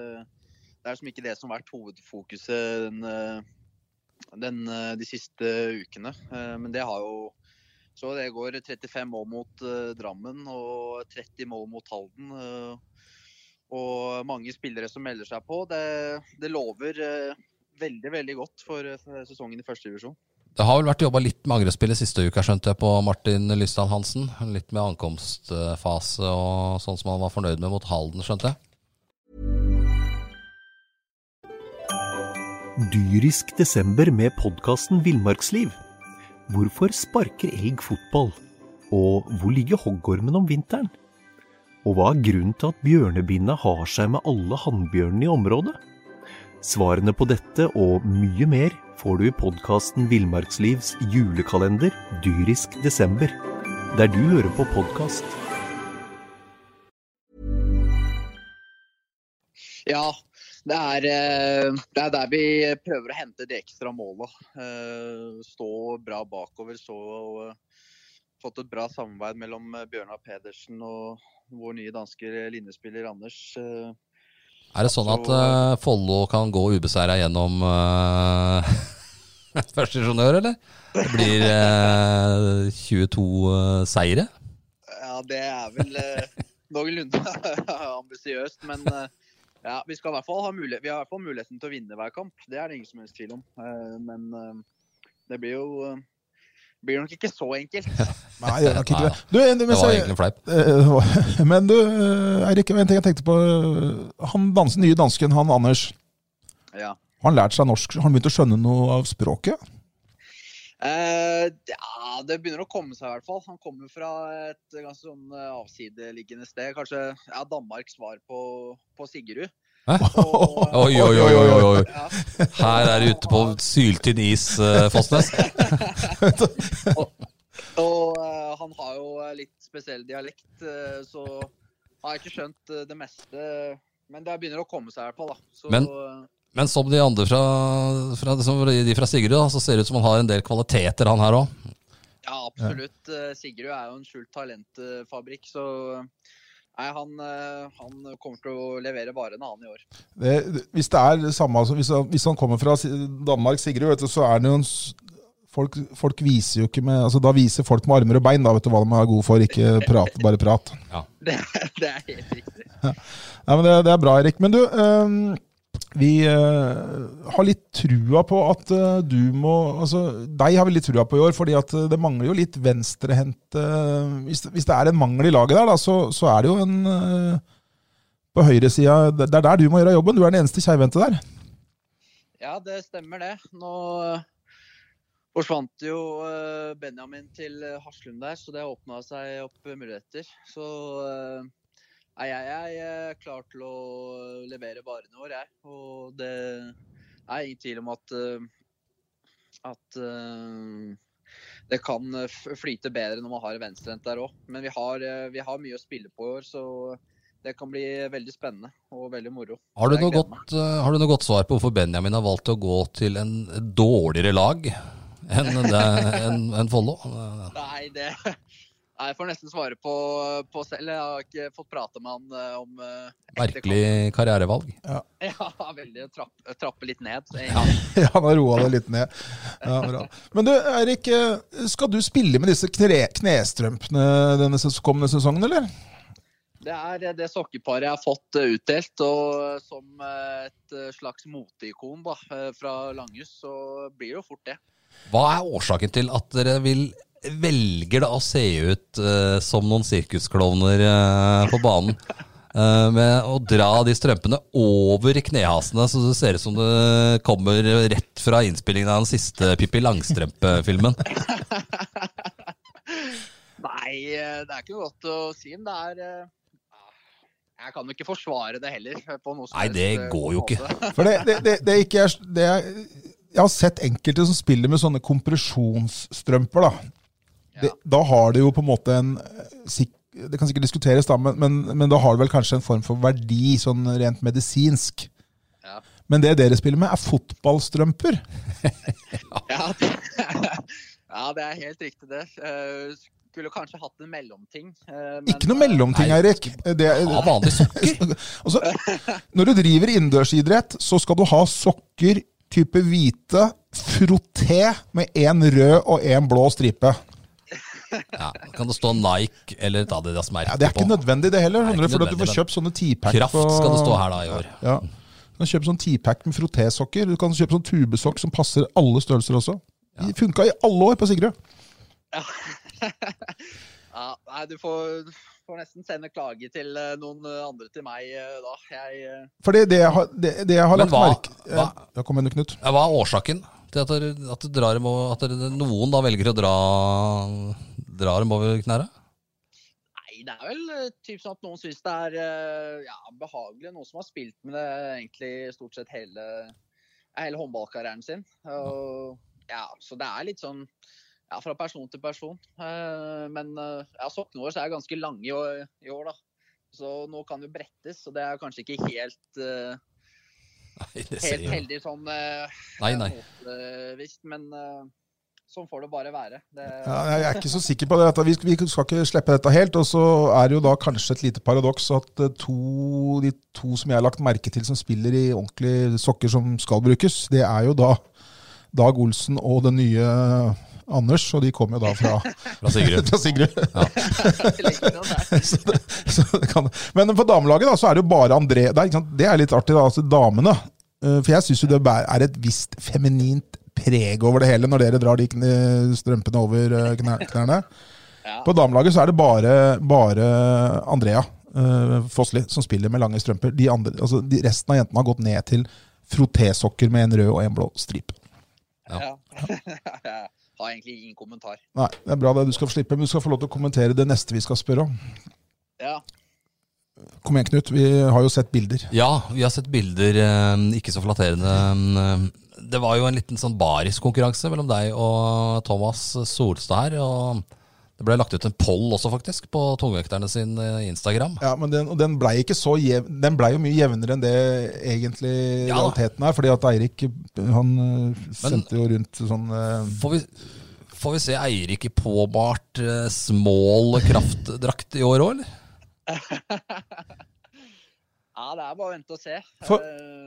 [SPEAKER 3] er liksom ikke det som har vært hovedfokuset den, eh, den, eh, de siste ukene. Eh, men det har jo Så det går 35 mål mot eh, Drammen og 30 mål mot Halden. eh, og mange spillere som melder seg på. Det, det lover eh, veldig, veldig godt for, eh, for sesongen i førstedivisjon.
[SPEAKER 2] Det har vel vært jobba litt med angrepsspillet siste uka, skjønte jeg, på Martin Lystad Hansen. Litt med ankomstfase og sånn som han var fornøyd med mot Halden, skjønte jeg.
[SPEAKER 4] Dyrisk desember med podkasten Villmarksliv. Hvorfor sparker elg fotball? Og hvor ligger hoggormen om vinteren? Og hva er grunnen til at bjørnebinna har seg med alle hannbjørnene i området? Svarene på dette og mye mer får du i podkasten Villmarkslivs julekalender Dyrisk desember, der du hører på podkast.
[SPEAKER 3] Ja, det er, eh, det er der vi prøver å hente de ekstra måla. Eh, Stå bra bakover. Så eh, fått et bra samarbeid mellom eh, Bjørnar Pedersen og vår nye danske linjespiller Anders. Eh,
[SPEAKER 2] Er det sånn at eh, Follo kan gå ubeseira gjennom uh, første ingeniør, eller? Det blir eh, 22 eh, seire.
[SPEAKER 3] Ja, det er vel eh, noenlunde ambisiøst, men eh, ja, vi, skal i hvert fall ha mulighet, vi har i hvert fall muligheten til å vinne hver kamp. Det er det ingen som helst tvil om. Eh, Men eh, det blir jo eh, blir nok ikke så enkelt.
[SPEAKER 1] Nei, jeg gjør nok ikke
[SPEAKER 2] Nei,
[SPEAKER 1] det. Du, en-
[SPEAKER 2] Det
[SPEAKER 1] mens
[SPEAKER 2] var
[SPEAKER 1] jeg-
[SPEAKER 2] egentlig en fleip.
[SPEAKER 1] Eh, Men du, eh, Eirik, en ting jeg tenkte på. eh, Han dans, nye dansken, han Anders,
[SPEAKER 3] Ja.
[SPEAKER 1] har han lært seg norsk? Har han begynt å skjønne noe av språket?
[SPEAKER 3] Eh, ja, det begynner å komme seg i hvert fall. Han kommer fra et ganske sånn eh, avsideliggende sted. Kanskje ja, Danmarks svar på, på Sigurd.
[SPEAKER 2] Hæ?
[SPEAKER 3] Og-
[SPEAKER 2] Oi, oi, oi, oi, oi, oi.
[SPEAKER 3] Ja,
[SPEAKER 2] Her er det ute på syltynn is, eh, Fosnes.
[SPEAKER 3] og eh, han har jo eh, litt spesiell dialekt, eh, så han har ikke skjønt eh, det meste. Men det begynner å komme seg i hvert fall, da. Så,
[SPEAKER 2] Men-
[SPEAKER 3] eh,
[SPEAKER 2] Men som de andre fra, fra, som de fra Sigurd, da, så ser det ut som han har en del kvaliteter, han her òg.
[SPEAKER 3] Ja, absolutt. Eh, Sigurd er jo en skjult talentfabrikk, så eh, Nei, han, eh, han kommer til å levere varene, han i år.
[SPEAKER 1] Det, hvis det er det samme, altså, hvis, han, hvis han kommer fra Si- Danmark, Sigrid, vet du, så er det jo en s- folk, folk viser jo ikke med altså, Da viser folk med armer og bein da, vet du, hva de er gode for. Ikke prat, bare prat.
[SPEAKER 3] Det, det er helt riktig.
[SPEAKER 1] Nei, men det, det er bra, Erik. Men du, eh, vi eh, har litt trua på at eh, du må Altså, deg har vi litt trua på i år, fordi at eh, det mangler jo litt venstrehendte hvis, hvis det er en mangel i laget der, da, så, så er det jo en eh, På høyresida Det det er der du må gjøre jobben. Du er den eneste keivhendte der.
[SPEAKER 3] Ja, det stemmer det. Nå eh, forsvant jo eh, Benjamin til eh, Haslum der, så det åpna seg opp eh, muligheter. Så eh, nei, jeg er eh, klar til å eh, levere varene våre, jeg. Og det er ingen tvil om at eh, at eh, det kan eh, f- flyte bedre når man har en venstrehendt der òg. Men vi har, eh, vi har mye å spille på i år, så det kan bli veldig spennende og veldig moro.
[SPEAKER 2] Har du
[SPEAKER 3] Jeg
[SPEAKER 2] noe
[SPEAKER 3] gleder meg.
[SPEAKER 2] godt, eh, har du noe godt svar på hvorfor Benjamin har valgt å gå til en dårligere lag enn en, en Follo? Eh,
[SPEAKER 3] Nei, det Nei, jeg får nesten svare på, på selv. Jeg har ikke fått prate med han eh, om eh, etter
[SPEAKER 2] Merkelig karrierevalg.
[SPEAKER 3] kamp. Ja, veldig å trappe, trappe litt ned.
[SPEAKER 2] Ja.
[SPEAKER 1] Ja, han har roa det litt ned. Ja, bra. Men du, Eirik, eh, skal du spille med disse kne knestrømpene denne ses kommende sesongen, eller?
[SPEAKER 3] Det er eh, det sokkeparet jeg har fått eh, utdelt. Og eh, som eh, et eh, slags moteikon da, eh, fra Langhus, så blir det jo fort det.
[SPEAKER 2] Hva er årsaken til at dere vil velger da å se ut eh, som noen sirkusklovner eh, på banen? Eh, med å dra de strømpene over knehasene, så det ser ut som det kommer rett fra innspillingen av den siste Pippi Langstrømpe-filmen.
[SPEAKER 3] Nei, eh, det er ikke noe godt å si. Men det er eh, Jeg kan jo ikke forsvare det heller. eh, på noe som
[SPEAKER 2] Nei,
[SPEAKER 3] helst,
[SPEAKER 2] det
[SPEAKER 3] eh,
[SPEAKER 2] går jo
[SPEAKER 3] måte.
[SPEAKER 1] For det, det, det, det er ikke jeg, det er, jeg har sett enkelte som spiller med sånne kompresjonsstrømper, da.
[SPEAKER 3] Ja.
[SPEAKER 1] Det, da har det jo på en måte en eh, sik- Det kan sikkert diskuteres, da, men, men, men da har det vel kanskje en form for verdi, sånn rent medisinsk.
[SPEAKER 3] Ja.
[SPEAKER 1] Men det dere spiller med, er fotballstrømper.
[SPEAKER 3] Ja, det, ja, det er helt riktig det. Eh, Skulle kanskje hatt en mellomting. eh, men-
[SPEAKER 1] Ikke noe mellomting,
[SPEAKER 2] Nei,
[SPEAKER 1] Eirik. Eh, Det,
[SPEAKER 2] Ha vanlige sokker!
[SPEAKER 1] Altså, når du driver innendørsidrett, så skal du ha sokker type hvite, frotté med én rød og én blå stripe.
[SPEAKER 2] Ja, kan det stå Nike eller et Adidas-merke
[SPEAKER 1] Ja, det er ikke
[SPEAKER 2] på?
[SPEAKER 1] nødvendig, det heller.
[SPEAKER 2] Nei,
[SPEAKER 1] Skjønner du,
[SPEAKER 2] ikke
[SPEAKER 1] fordi at du får
[SPEAKER 2] nødvendig,
[SPEAKER 1] kjøpt sånne teapack
[SPEAKER 2] Kraft skal det stå her da i år.
[SPEAKER 1] Ja. Du kan kjøpe sånn teapack med frottésokker. Du kan kjøpe sånn tubesokk som passer alle størrelser også. De funka i alle år på Sigrud.
[SPEAKER 3] eh, Ja, nei, du får, får nesten sende klage til eh, noen eh, andre til meg eh, da. Jeg, eh,
[SPEAKER 1] Fordi det jeg har, det, det jeg har
[SPEAKER 2] Men
[SPEAKER 1] lagt
[SPEAKER 2] hva-
[SPEAKER 1] merke Ja,
[SPEAKER 2] hva-
[SPEAKER 1] ja, kom igjen, du, Knut.
[SPEAKER 2] Ja, hva er årsaken til at, dere, at, dere drar dem over, at dere, noen da velger å dra, dra dem over knærne?
[SPEAKER 3] nei, det er vel eh, typ sånn at noen syns det er eh, ja, behagelig. Noen som har spilt med det egentlig stort sett hele, hele håndballkarrieren sin. Og, ja, så det er litt sånn ja, fra person til person. Eh, Men eh, ja, sokkene våre så er ganske lange i år, i år, da. Så nå kan det jo brettes, så det er kanskje ikke helt, eh,
[SPEAKER 2] Nei, det ser
[SPEAKER 3] helt
[SPEAKER 2] jo-
[SPEAKER 3] heldig sånn eh,
[SPEAKER 2] Nei, nei.
[SPEAKER 3] motvisst, men eh, sånn får det bare være. Det,
[SPEAKER 1] Ja, jeg er ikke så sikker på det. At vi, vi skal ikke slippe dette helt. Og så er det jo da kanskje et lite paradoks at eh, to, de to som jeg har lagt merke til som spiller i ordentlige sokker som skal brukes, det er jo da Dag Olsen og den nye Anders, og de kommer jo da fra,
[SPEAKER 2] Fra Sigurd.
[SPEAKER 1] fra Sigrud.
[SPEAKER 3] det ligger noe der.
[SPEAKER 1] Så det- så det kan- Men på damelaget da, så er det jo bare André der. Ikke sant? Det er litt artig, da. Altså damene. Eh, For jeg syns jo det bæ- er et visst feminint preg over det hele når dere drar de kn- strømpene over eh, knær- knærne.
[SPEAKER 3] Ja.
[SPEAKER 1] På damelaget så er det bare, bare Andrea eh, Fossli som spiller med lange strømper. De andre, altså de resten av jentene har gått ned til frottésokker med en rød og en blå stripe.
[SPEAKER 2] Ja.
[SPEAKER 3] Ja. Jeg har egentlig ingen kommentar.
[SPEAKER 1] Nei, det er bra det. Du skal få slippe, men du skal få lov til å kommentere det neste vi skal spørre om.
[SPEAKER 3] Ja.
[SPEAKER 1] Kom igjen, Knut. Vi har jo sett bilder.
[SPEAKER 2] Ja, vi har sett bilder, eh, ikke så flatterende. eh, Det var jo en liten sånn bariskonkurranse mellom deg og Thomas Solstad her. og Det ble lagt ut en poll også, faktisk, på tungvekterne sin eh, Instagram.
[SPEAKER 1] Ja, men den, og den blei ikke så jev, Den blei jo mye jevnere enn det egentlig
[SPEAKER 2] Ja.
[SPEAKER 1] realiteten er. Fordi at Eirik han øh, sendte jo rundt sånn øh,
[SPEAKER 2] Får vi, får vi se Eirik i påbart eh, smål kraftdrakt i år òg, eller?
[SPEAKER 3] ja, det er bare å vente og se.
[SPEAKER 1] For-
[SPEAKER 3] Eh,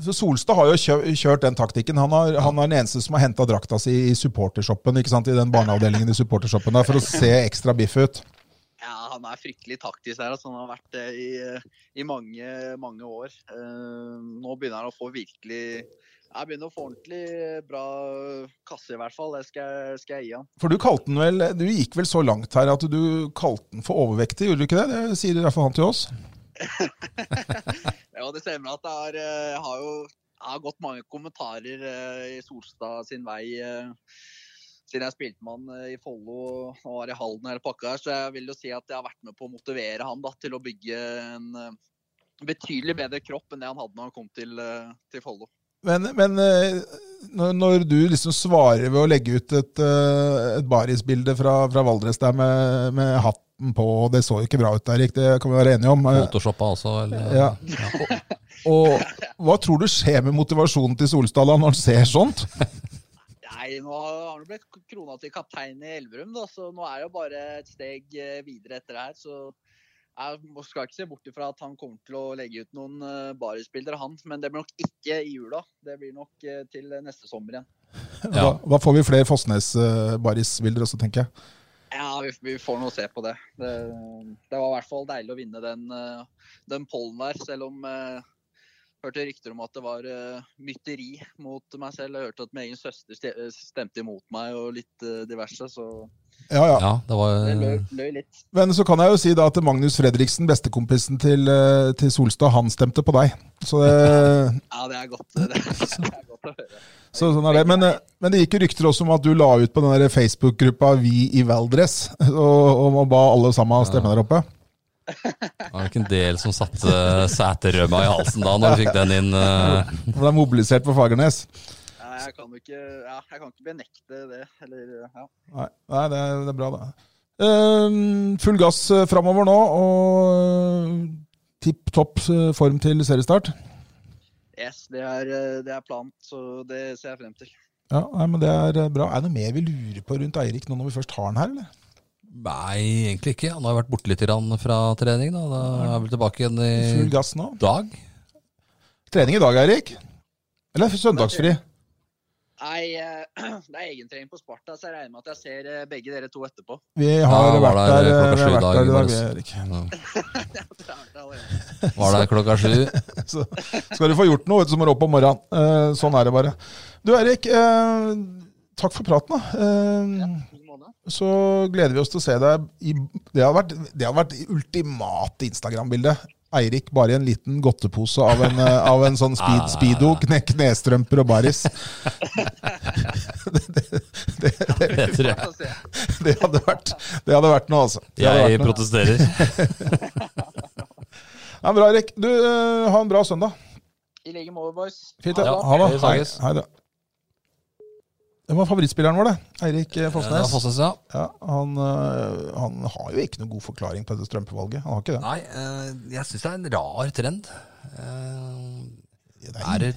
[SPEAKER 1] Så Solstad har jo kjø- kjørt den taktikken. Han, har, han er den eneste som har henta drakta si i supportershoppen. Ikke sant? I den barneavdelingen i supportershoppen der, for å se ekstra biff ut.
[SPEAKER 3] ja, han er fryktelig taktisk der. Altså, han har vært det i, eh, i mange, mange år. Eh, nå begynner han å få virkelig Jeg begynner å få ordentlig bra kasse, i hvert fall. Det skal, jeg- skal jeg gi han.
[SPEAKER 1] For du kalte den vel Du gikk vel så langt her at du kalte den for overvektig, gjorde du ikke det? Det sier i hvert fall han til oss.
[SPEAKER 3] Ja, det stemmer at det er, eh, jeg har jo jeg har gått mange kommentarer eh, i Solstad sin vei eh, siden jeg spilte med han eh, i Follo og og var i Halden og hele pakka her. Så jeg vil jo si at jeg har vært med på å motivere han da, til å bygge en eh, betydelig bedre kropp enn det han hadde når han kom til, eh, til Follo.
[SPEAKER 1] Men, men eh, når, når du liksom svarer ved å legge ut et, eh, et barisbilde fra, fra Valdres der med, med hatten på, og det så ikke bra ut der, Erik, det kan vi være enige om. Eh,
[SPEAKER 2] Photoshoppa også, eller?
[SPEAKER 1] Ja. Og hva tror du skjer med motivasjonen til Solstad da når han ser sånt?
[SPEAKER 3] Nei, nå har han blitt krona til kaptein i Elverum, da, så nå er det jo bare et steg eh, videre etter det her. Så jeg må- skal ikke se bort ifra at han kommer til å legge ut noen eh, barisbilder, han. Men det blir nok ikke i jula. Det blir nok eh, til neste sommer igjen.
[SPEAKER 1] Da, da får vi flere Fossnes-barisbilder også, tenker jeg.
[SPEAKER 3] Ja, vi, vi får nå se på det. det. Det var i hvert fall deilig å vinne den, eh, den pollen der, selv om eh, Hørte rykter om at det var eh, mytteri mot meg selv. Jeg hørte at min egen søster ste- stemte imot meg og litt eh, diverse, så
[SPEAKER 1] Ja, ja.
[SPEAKER 2] Ja, det var eh,
[SPEAKER 3] det løy, løy litt.
[SPEAKER 1] Men så kan jeg jo si da at Magnus Fredriksen, bestekompisen til, eh, til Solstad, han stemte på deg. Så eh, det,
[SPEAKER 3] Ja, det er godt, det er godt å høre.
[SPEAKER 1] Så, sånn er det. Men, eh, men det gikk jo rykter også om at du la ut på den der Facebook-gruppa Vi i Valdres, og, og ba alle sammen stemme der oppe.
[SPEAKER 2] Det var nok en del som satte seterømma i halsen da, når du fikk den inn. eh.
[SPEAKER 1] For det er mobilisert på Fagernes.
[SPEAKER 3] Nei, jeg kan jo ikke, ja, jeg kan ikke benekte det. Eller, ja.
[SPEAKER 1] Nei, nei det, er, det er bra, det. Ehm, full gass eh, framover nå, og tipp topp eh, form til seriestart.
[SPEAKER 3] Yes, det er, eh, det er planen, så det ser jeg frem til.
[SPEAKER 1] Ja, nei, men Det er eh, bra. Er det noe mer vi lurer på rundt Eirik nå når vi først har han her, eller?
[SPEAKER 2] Nei, egentlig ikke. Han har vært borte litt grann fra trening. da. Da er han vel tilbake igjen
[SPEAKER 1] Full
[SPEAKER 2] i
[SPEAKER 1] gass nå.
[SPEAKER 2] dag.
[SPEAKER 1] Trening i dag, Eirik? Eller søndagsfri?
[SPEAKER 3] Nei, eh, det er egentrening på Sparta, så jeg regner med at jeg ser eh, begge dere to etterpå.
[SPEAKER 1] Vi har
[SPEAKER 2] Ja, var
[SPEAKER 1] vært
[SPEAKER 2] der
[SPEAKER 1] der, eh, vi har
[SPEAKER 2] klokka sju i
[SPEAKER 1] vært der
[SPEAKER 2] dag,
[SPEAKER 1] i dag,
[SPEAKER 2] Valdres.
[SPEAKER 1] vi, Eirik.
[SPEAKER 2] Ja.
[SPEAKER 3] Det er det allerede.
[SPEAKER 2] Var der klokka sju.
[SPEAKER 1] Så skal du få gjort noe, vet du, så må du opp om morgenen. Eh, sånn er det bare. Du Erik, eh, takk for praten. da. Eh,
[SPEAKER 3] I måned.
[SPEAKER 1] Så gleder vi oss til å se deg i Det hadde vært det, hadde vært det ultimate Instagram-bildet. Eirik bare i en liten godtepose av en, eh, av en sånn speed, speedo, kne, knestrømper og baris. Det, det, det,
[SPEAKER 2] Det tror jeg.
[SPEAKER 3] Så ser jeg.
[SPEAKER 1] det, hadde vært, det hadde vært noe, altså. Det hadde
[SPEAKER 2] Jeg
[SPEAKER 1] vært noe.
[SPEAKER 2] protesterer.
[SPEAKER 1] Ja, bra, Eirik. Du, eh, ha en bra søndag.
[SPEAKER 3] I like måte, boys.
[SPEAKER 1] Fint,
[SPEAKER 3] Ha det
[SPEAKER 1] ja.
[SPEAKER 3] bra.
[SPEAKER 1] Ha det. Hei,
[SPEAKER 2] Vi snakkes.
[SPEAKER 1] hei da. Det var favorittspilleren vår, det. Eirik eh,
[SPEAKER 2] Ja,
[SPEAKER 1] Fossnes.
[SPEAKER 2] Fossnes, ja.
[SPEAKER 1] Ja, han, eh, han har jo ikke noe god forklaring på dette strømpevalget. Han har ikke det.
[SPEAKER 2] Nei, eh, jeg syns det er en rar trend. Eh, er det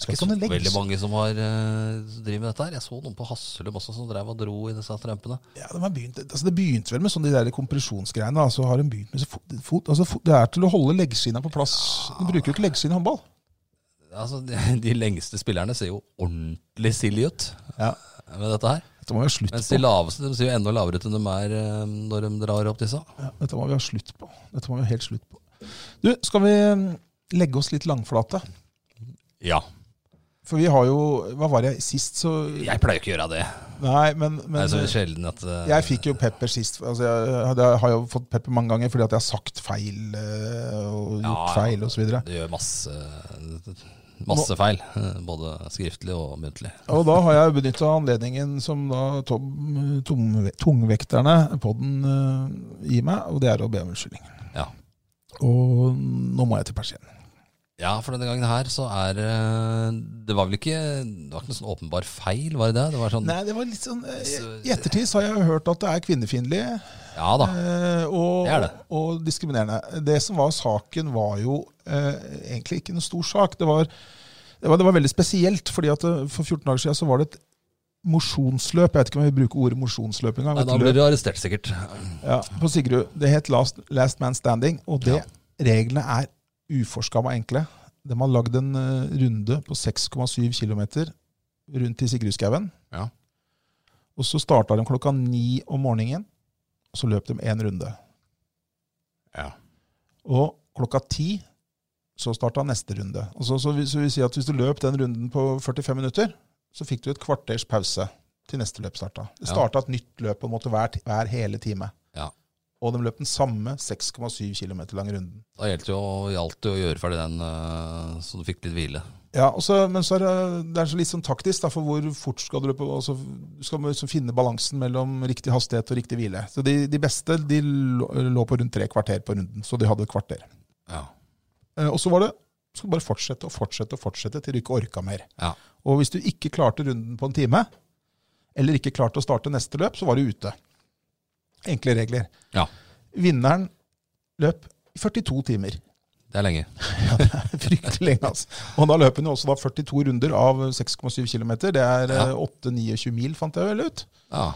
[SPEAKER 1] Skal
[SPEAKER 2] ikke
[SPEAKER 1] ikke
[SPEAKER 2] så
[SPEAKER 1] sånne legges.
[SPEAKER 2] veldig mange som har, eh, som driver med dette her? Jeg så noen på Hasselum også som drev og dro i disse strømpene.
[SPEAKER 1] Ja, de har begynt, altså det begynte vel med sånn de der kompresjonsgreiene. da, Så har de begynt med så fot, fot, altså fot, Det er til å holde leggskinna på plass. De bruker jo ikke leggskinn i håndball.
[SPEAKER 2] Altså, de, de lengste spillerne ser jo ordentlig silly ut eh,
[SPEAKER 1] Ja.
[SPEAKER 2] med dette her.
[SPEAKER 1] Dette må vi ha slutt
[SPEAKER 2] Mens
[SPEAKER 1] på.
[SPEAKER 2] de laveste de ser jo enda lavere ut enn de er eh, når de drar opp disse.
[SPEAKER 1] Ja, dette må vi ha slutt på. Dette må vi ha helt slutt mm, på. Du, skal vi eh, legge oss litt langflate?
[SPEAKER 2] Ja.
[SPEAKER 1] For vi har jo Hva var det sist, så
[SPEAKER 2] Jeg pleier ikke å gjøre det.
[SPEAKER 1] Nei, men, men
[SPEAKER 2] Det er så sjelden at eh,
[SPEAKER 1] Jeg fikk jo pepper sist. Altså jeg, jeg har jo fått pepper mange ganger fordi at jeg har sagt feil eh, og gjort
[SPEAKER 2] Ja, ja.
[SPEAKER 1] feil og så videre
[SPEAKER 2] Det gjør masse, masse feil. eh, Både skriftlig og muntlig.
[SPEAKER 1] Og da har jeg benytta anledningen som da tom, tom, tungvekterne på den eh, gir meg, og det er å be om unnskyldning.
[SPEAKER 2] Ja.
[SPEAKER 1] Og nå må jeg til persien.
[SPEAKER 2] ja, for denne gangen her så er eh, Det var vel ikke Det var ikke noen sånn åpenbar feil, var det det? Det var sånn
[SPEAKER 1] Nei, det var litt sånn eh,
[SPEAKER 2] Så-
[SPEAKER 1] I ettertid så har jeg hørt at det er kvinnefiendtlig
[SPEAKER 2] Ja da.
[SPEAKER 1] eh, og,
[SPEAKER 2] Det er det.
[SPEAKER 1] og diskriminerende. Det som var saken, var jo eh, egentlig ikke noen stor sak. Det var, det var, det var veldig spesielt, fordi at eh, for 14 dager siden så var det et mosjonsløp. Jeg vet ikke om jeg bruker ordet mosjonsløp engang.
[SPEAKER 2] Nei,
[SPEAKER 1] et
[SPEAKER 2] da
[SPEAKER 1] løp.
[SPEAKER 2] blir du arrestert, sikkert.
[SPEAKER 1] Ja, på Sigrud. Det het Last, Last Man Standing, og det, reglene er uforskamma enkle. De har lagd en eh, runde på 6,7 km rundt i Sigrudskauen.
[SPEAKER 2] Ja.
[SPEAKER 1] Og så starta de klokka ni om morgenen, og så løp de én runde.
[SPEAKER 2] Ja.
[SPEAKER 1] Og klokka ti så starta neste runde. Og så, så, vil- så vil si at hvis du løp den runden på 45 minutter, så fikk du et kvarters pause til neste løp starta. Det
[SPEAKER 2] Ja.
[SPEAKER 1] starta et nytt løp på en måte hver, ti- hver hele time.
[SPEAKER 2] Ja.
[SPEAKER 1] Og de løp den samme 6,7 km lange runden.
[SPEAKER 2] Da gjaldt det jo gjaldt det å gjøre ferdig den, eh, så du fikk litt hvile.
[SPEAKER 1] Ja, og så, Men så er det, det er så litt sånn taktisk, da, for hvor fort skal du løpe? og så skal man liksom finne balansen mellom riktig hastighet og riktig hvile. Så De, de beste de lå lå på rundt tre kvarter på runden, så de hadde et kvarter.
[SPEAKER 2] Ja.
[SPEAKER 1] Eh, Og så var det skal bare fortsette og fortsette og fortsette til du ikke orka mer.
[SPEAKER 2] Ja.
[SPEAKER 1] Og hvis du ikke klarte runden på en time, eller ikke klarte å starte neste løp, så var du ute. Enkle regler.
[SPEAKER 2] Ja.
[SPEAKER 1] Vinneren løp i 42 timer.
[SPEAKER 2] Det er lenge.
[SPEAKER 1] Fryktelig lenge, altså. Og da løp hun jo også da 42 runder av 6,7 km. Det er
[SPEAKER 2] Ja.
[SPEAKER 1] eh, 8-29 mil, fant jeg vel ut.
[SPEAKER 2] Ja.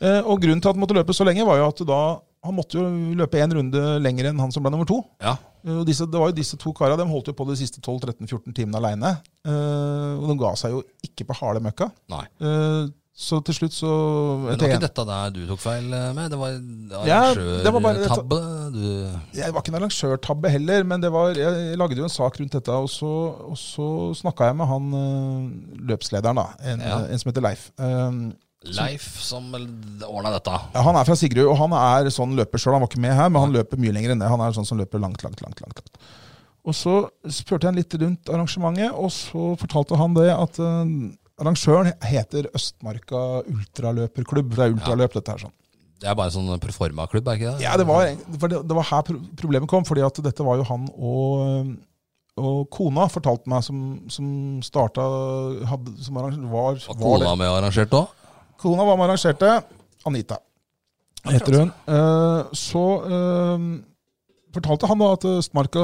[SPEAKER 1] Eh, Og grunnen til at han måtte løpe så lenge, var jo at da han måtte jo løpe én runde lenger enn han som ble nummer to.
[SPEAKER 2] Ja.
[SPEAKER 1] Eh, Og disse, det var jo disse to karene, de holdt jo på de siste 12-13-14 timene aleine. Og de ga seg jo ikke på harde møkka.
[SPEAKER 2] Nei.
[SPEAKER 1] Eh, Så til slutt så etter
[SPEAKER 2] Men det var
[SPEAKER 1] en-
[SPEAKER 2] ikke dette der du tok feil eh, med? Det var, det var
[SPEAKER 1] Ja, det var bare-
[SPEAKER 2] arrangørtabbe? Du
[SPEAKER 1] Jeg var ikke en arrangørtabbe heller, men det var, jeg lagde jo en sak rundt dette. Og så, og så snakka jeg med han eh, løpslederen, da, en,
[SPEAKER 2] Ja.
[SPEAKER 1] en som heter Leif. Eh,
[SPEAKER 2] Leif som ordna dette.
[SPEAKER 1] ja, han er fra Sigrud, og han er sånn løper sjøl. Han var ikke med her, men han løper mye lenger enn det. Han er sånn som løper langt, langt, langt. langt. langt. Og så spurte jeg han litt rundt arrangementet, og så fortalte han det at eh, arrangøren heter Østmarka ultraløperklubb. for Det er ultraløp, dette her. sånn.
[SPEAKER 2] Det er bare en sånn performa-klubb, er ikke det?
[SPEAKER 1] Ja, det var, for det, det var her pro- problemet kom, fordi at dette var jo han og, og kona, fortalte meg, som, som starta hadde, som arrangør, var, var
[SPEAKER 2] Var
[SPEAKER 1] det.
[SPEAKER 2] kona med og arrangert òg?
[SPEAKER 1] Kona var med og arrangerte. Anita heter hun. Eh, så eh, fortalte han da at Østmarka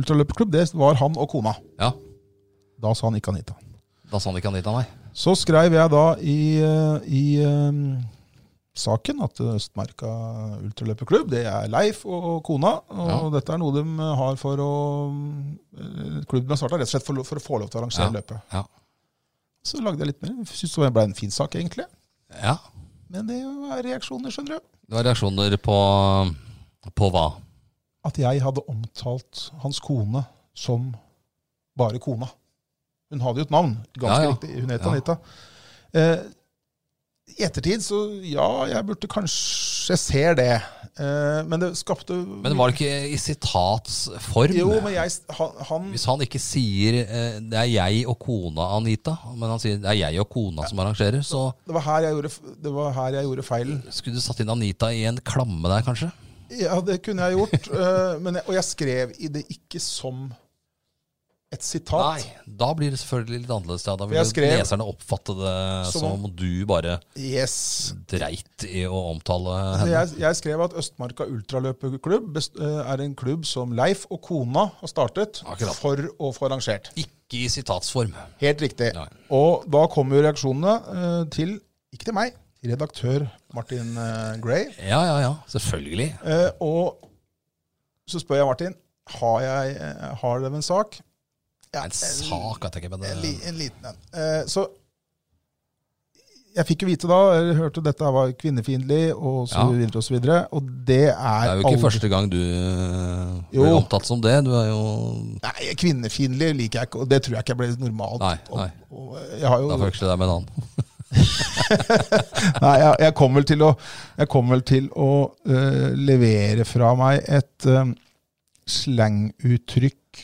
[SPEAKER 1] ultraløperklubb, det var han og kona.
[SPEAKER 2] Ja.
[SPEAKER 1] Da sa han ikke Anita.
[SPEAKER 2] Da sa han ikke Anita, nei.
[SPEAKER 1] Så skrev jeg da i, eh, i eh, saken at Østmarka ultraløperklubb, det er Leif og, og kona. Og
[SPEAKER 2] Ja.
[SPEAKER 1] dette er noe de har for å eh, Klubben har starta rett og slett for, for å få lov til å arrangere
[SPEAKER 2] Ja.
[SPEAKER 1] løpet.
[SPEAKER 2] Ja.
[SPEAKER 1] Så lagde jeg litt mer. Syns det ble en fin sak, egentlig.
[SPEAKER 2] ja.
[SPEAKER 1] Men det var reaksjoner, skjønner du.
[SPEAKER 2] Det var reaksjoner på På hva?
[SPEAKER 1] At jeg hadde omtalt hans kone som bare kona. Hun hadde jo et navn. Ganske
[SPEAKER 2] Ja, ja.
[SPEAKER 1] riktig. Hun het
[SPEAKER 2] Ja.
[SPEAKER 1] Anita. Eh, I ettertid så ja, jeg burde kanskje Jeg ser det. Eh, men det skapte
[SPEAKER 2] Men var det ikke i sitats form?
[SPEAKER 1] Jo, men jeg Han, han
[SPEAKER 2] Hvis han ikke sier eh, 'det er jeg og kona, Anita', men han sier 'det er jeg og kona som arrangerer', så
[SPEAKER 1] det var, her jeg gjorde, f- det var her jeg gjorde feilen.
[SPEAKER 2] skulle du satt inn Anita i en klamme der, kanskje?
[SPEAKER 1] Ja, det kunne jeg gjort. eh, men jeg, og jeg skrev i det ikke som et sitat.
[SPEAKER 2] Nei, da blir det selvfølgelig litt annerledes. Ja. Da vil
[SPEAKER 1] Jeg skrev-
[SPEAKER 2] leserne oppfatte det
[SPEAKER 1] Som
[SPEAKER 2] som
[SPEAKER 1] om-
[SPEAKER 2] om du bare
[SPEAKER 1] Yes.
[SPEAKER 2] dreit i å omtale
[SPEAKER 1] Så
[SPEAKER 2] henne.
[SPEAKER 1] Jeg, jeg skrev at Østmarka ultraløpeklubb best- eh, er en klubb som Leif og kona har startet
[SPEAKER 2] Akkurat.
[SPEAKER 1] for å få arrangert.
[SPEAKER 2] Ikke i sitatsform.
[SPEAKER 1] Helt riktig.
[SPEAKER 2] Nei.
[SPEAKER 1] Og da kom jo reaksjonene eh, til, ikke til meg, redaktør Martin eh, Gray.
[SPEAKER 2] Ja, ja, ja. Selvfølgelig.
[SPEAKER 1] Eh, og så spør jeg Martin, har, jeg, eh, har dere en sak? Ja,
[SPEAKER 2] altså. Det er en sak, vet jeg ikke, men
[SPEAKER 1] En,
[SPEAKER 2] det,
[SPEAKER 1] li- en liten en. Eh, så jeg fikk jo vite da, eller hørte dette her var kvinnefiendtlig og så
[SPEAKER 2] Ja.
[SPEAKER 1] videre og så videre. Og det er,
[SPEAKER 2] Det er jo ikke
[SPEAKER 1] aldri-
[SPEAKER 2] første gang du eh, blir
[SPEAKER 1] Jo.
[SPEAKER 2] omtalt som det. Du er jo
[SPEAKER 1] Nei, kvinnefiendtlig liker jeg ikke, og det tror jeg ikke jeg ble normalt.
[SPEAKER 2] Nei, nei.
[SPEAKER 1] Og, og jeg har jo
[SPEAKER 2] Da forveksler jeg deg med en annen.
[SPEAKER 1] Nei, jeg, jeg kom vel til å, jeg kom vel til å øh, levere fra meg et øh, slanguttrykk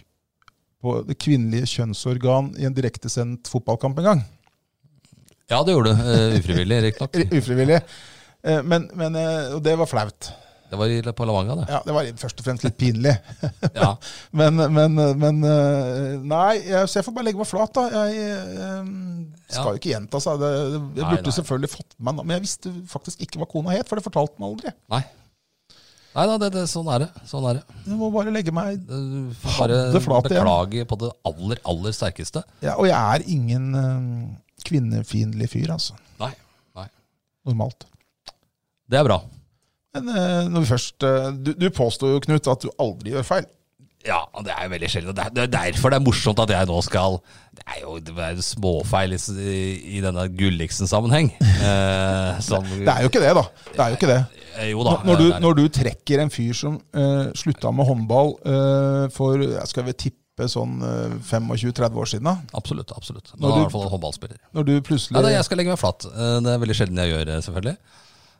[SPEAKER 1] på det kvinnelige kjønnsorgan i en direktesendt fotballkamp en gang.
[SPEAKER 2] Ja, det gjorde du. eh, Ufrivillig, riktignok.
[SPEAKER 1] U- Ufrivillig. Eh, Men, men, eh, og det var flaut.
[SPEAKER 2] Det var i på Lavanga, det.
[SPEAKER 1] Ja, det var først og fremst litt pinlig.
[SPEAKER 2] Ja.
[SPEAKER 1] Men, men, men eh, Nei, jeg, så jeg får bare legge meg flat, da. Jeg eh, skal
[SPEAKER 2] Ja.
[SPEAKER 1] jo ikke gjenta seg. Det, det, jeg
[SPEAKER 2] Nei,
[SPEAKER 1] burde
[SPEAKER 2] nei.
[SPEAKER 1] selvfølgelig fått med meg noe, men jeg visste faktisk ikke hva kona het, for det fortalte meg aldri.
[SPEAKER 2] Nei. Nei da, det, det, sånn er det. Sånn er det.
[SPEAKER 1] Jeg må bare legge meg
[SPEAKER 2] Du får
[SPEAKER 1] Hadde
[SPEAKER 2] bare
[SPEAKER 1] flat igjen.
[SPEAKER 2] beklage på det aller, aller sterkeste.
[SPEAKER 1] ja, Og jeg er ingen eh, kvinnefiendtlig fyr, altså.
[SPEAKER 2] Nei. Nei.
[SPEAKER 1] Normalt.
[SPEAKER 2] Det er bra.
[SPEAKER 1] Men eh, når vi først eh, Du, du påstår jo, Knut, at du aldri gjør feil.
[SPEAKER 2] Ja, det er jo veldig sjelden. Det er- Det er derfor det er morsomt at jeg nå skal Det er jo, det er jo småfeil i, i denne Gulliksen-sammenheng. Eh, som-
[SPEAKER 1] Det er jo ikke det, da. Det er jo ikke det.
[SPEAKER 2] Eh, Jo da.
[SPEAKER 1] Når, når,
[SPEAKER 2] det
[SPEAKER 1] du,
[SPEAKER 2] er-
[SPEAKER 1] når du trekker en fyr som eh, slutta med håndball eh, for jeg skal vel tippe sånn eh, 25-30 år siden, da.
[SPEAKER 2] Absolutt. absolutt. Nå
[SPEAKER 1] Når
[SPEAKER 2] er
[SPEAKER 1] du-
[SPEAKER 2] i hvert fall en håndballspiller.
[SPEAKER 1] Når du
[SPEAKER 2] Nei,
[SPEAKER 1] plutselig
[SPEAKER 2] nei, jeg skal legge meg flat. Eh, Det er veldig sjelden jeg gjør, eh, selvfølgelig.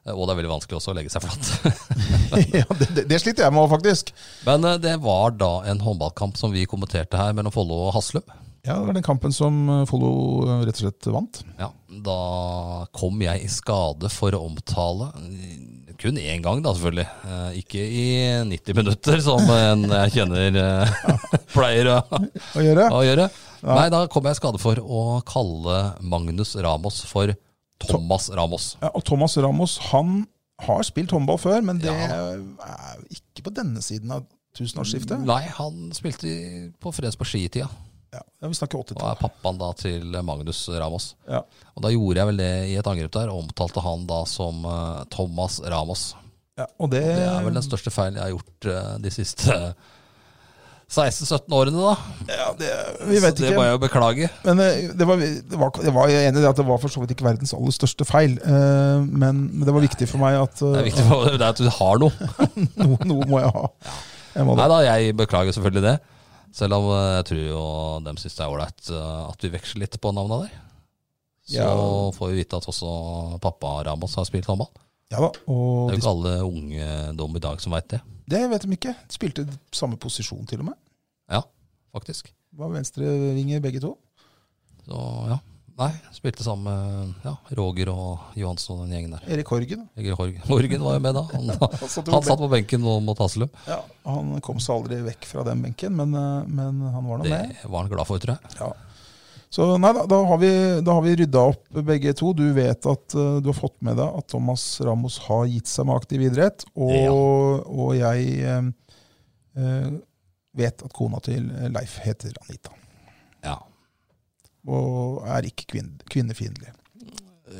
[SPEAKER 2] Eh, Og det er veldig vanskelig også å legge seg flat.
[SPEAKER 1] ja, det, det, det sliter jeg med òg, faktisk.
[SPEAKER 2] Men eh, det var da en håndballkamp som vi kommenterte her mellom Follo og Haslum.
[SPEAKER 1] Ja, Det var den kampen som eh, Follo eh, rett og slett vant.
[SPEAKER 2] Ja, da kom jeg i skade for å omtale eh, kun én gang, da selvfølgelig. Eh, Ikke i 90 minutter, som en jeg kjenner eh, pleier å,
[SPEAKER 1] Å gjøre.
[SPEAKER 2] å gjøre. Nei, da kom jeg i skade for å kalle Magnus Ramos for Thomas Ramos.
[SPEAKER 1] Ja, og Thomas Ramos han har spilt håndball før, men det
[SPEAKER 2] Ja.
[SPEAKER 1] er ikke på denne siden av tusenårsskiftet.
[SPEAKER 2] Nei, han spilte i- på Fredensborg skitida.
[SPEAKER 1] Ja, ja, vi snakker
[SPEAKER 2] Og er
[SPEAKER 1] 80-tallet.
[SPEAKER 2] pappaen da til Magnus Ramos.
[SPEAKER 1] Ja.
[SPEAKER 2] Og da gjorde jeg vel det i et angrep der, og omtalte han da som eh, Thomas Ramos.
[SPEAKER 1] Ja, og det,
[SPEAKER 2] Det er
[SPEAKER 1] Eh.
[SPEAKER 2] vel den største feilen jeg har gjort eh, de siste 16-17 årene, da.
[SPEAKER 1] ja, det, Vi
[SPEAKER 2] Så
[SPEAKER 1] vet
[SPEAKER 2] det
[SPEAKER 1] ikke.
[SPEAKER 2] må jeg jo beklage.
[SPEAKER 1] Men eh, det var, det var, det var, jeg er enig i det at det var for så vidt ikke verdens aller største feil. eh, Men men det var viktig for meg at
[SPEAKER 2] Det
[SPEAKER 1] eh,
[SPEAKER 2] er viktig for det er at du har noe.
[SPEAKER 1] noe, noe må jeg ha. Jeg må
[SPEAKER 2] Nei
[SPEAKER 1] det.
[SPEAKER 2] da, jeg beklager selvfølgelig det. Selv om eh, jeg tror jo dem syns det er ålreit eh, at vi veksler litt på navna der. Så
[SPEAKER 1] Ja.
[SPEAKER 2] får vi vite at også pappa Ramos har spilt håndball.
[SPEAKER 1] Ja da,
[SPEAKER 2] Det
[SPEAKER 1] og
[SPEAKER 2] er jo
[SPEAKER 1] de,
[SPEAKER 2] ikke alle ungdom i dag som veit det,
[SPEAKER 1] det vet de ikke. De spilte samme posisjon til og med.
[SPEAKER 2] faktisk.
[SPEAKER 1] Var venstrevinger begge to.
[SPEAKER 2] Så ja. Nei, spilte sammen med ja, Roger og Johansson og den gjengen der.
[SPEAKER 1] Erik Horgen.
[SPEAKER 2] Egil Horg- Horgen var jo med da. Han,
[SPEAKER 1] Han satt
[SPEAKER 2] han satt på benken nå mot Haslum.
[SPEAKER 1] Ja, han kom seg aldri vekk fra den benken, men, eh, men han var nå
[SPEAKER 2] Det
[SPEAKER 1] med.
[SPEAKER 2] var han glad for, tror jeg.
[SPEAKER 1] Ja. Så nei da, da har vi, da har vi rydda opp begge to. Du vet at eh, du har fått med deg at Thomas Ramos har gitt seg med aktiv idrett, og,
[SPEAKER 2] Ja.
[SPEAKER 1] og jeg eh, eh, vet at kona til Leif heter Anita.
[SPEAKER 2] Ja.
[SPEAKER 1] Og er ikke kvinn, kvinnefiendtlig.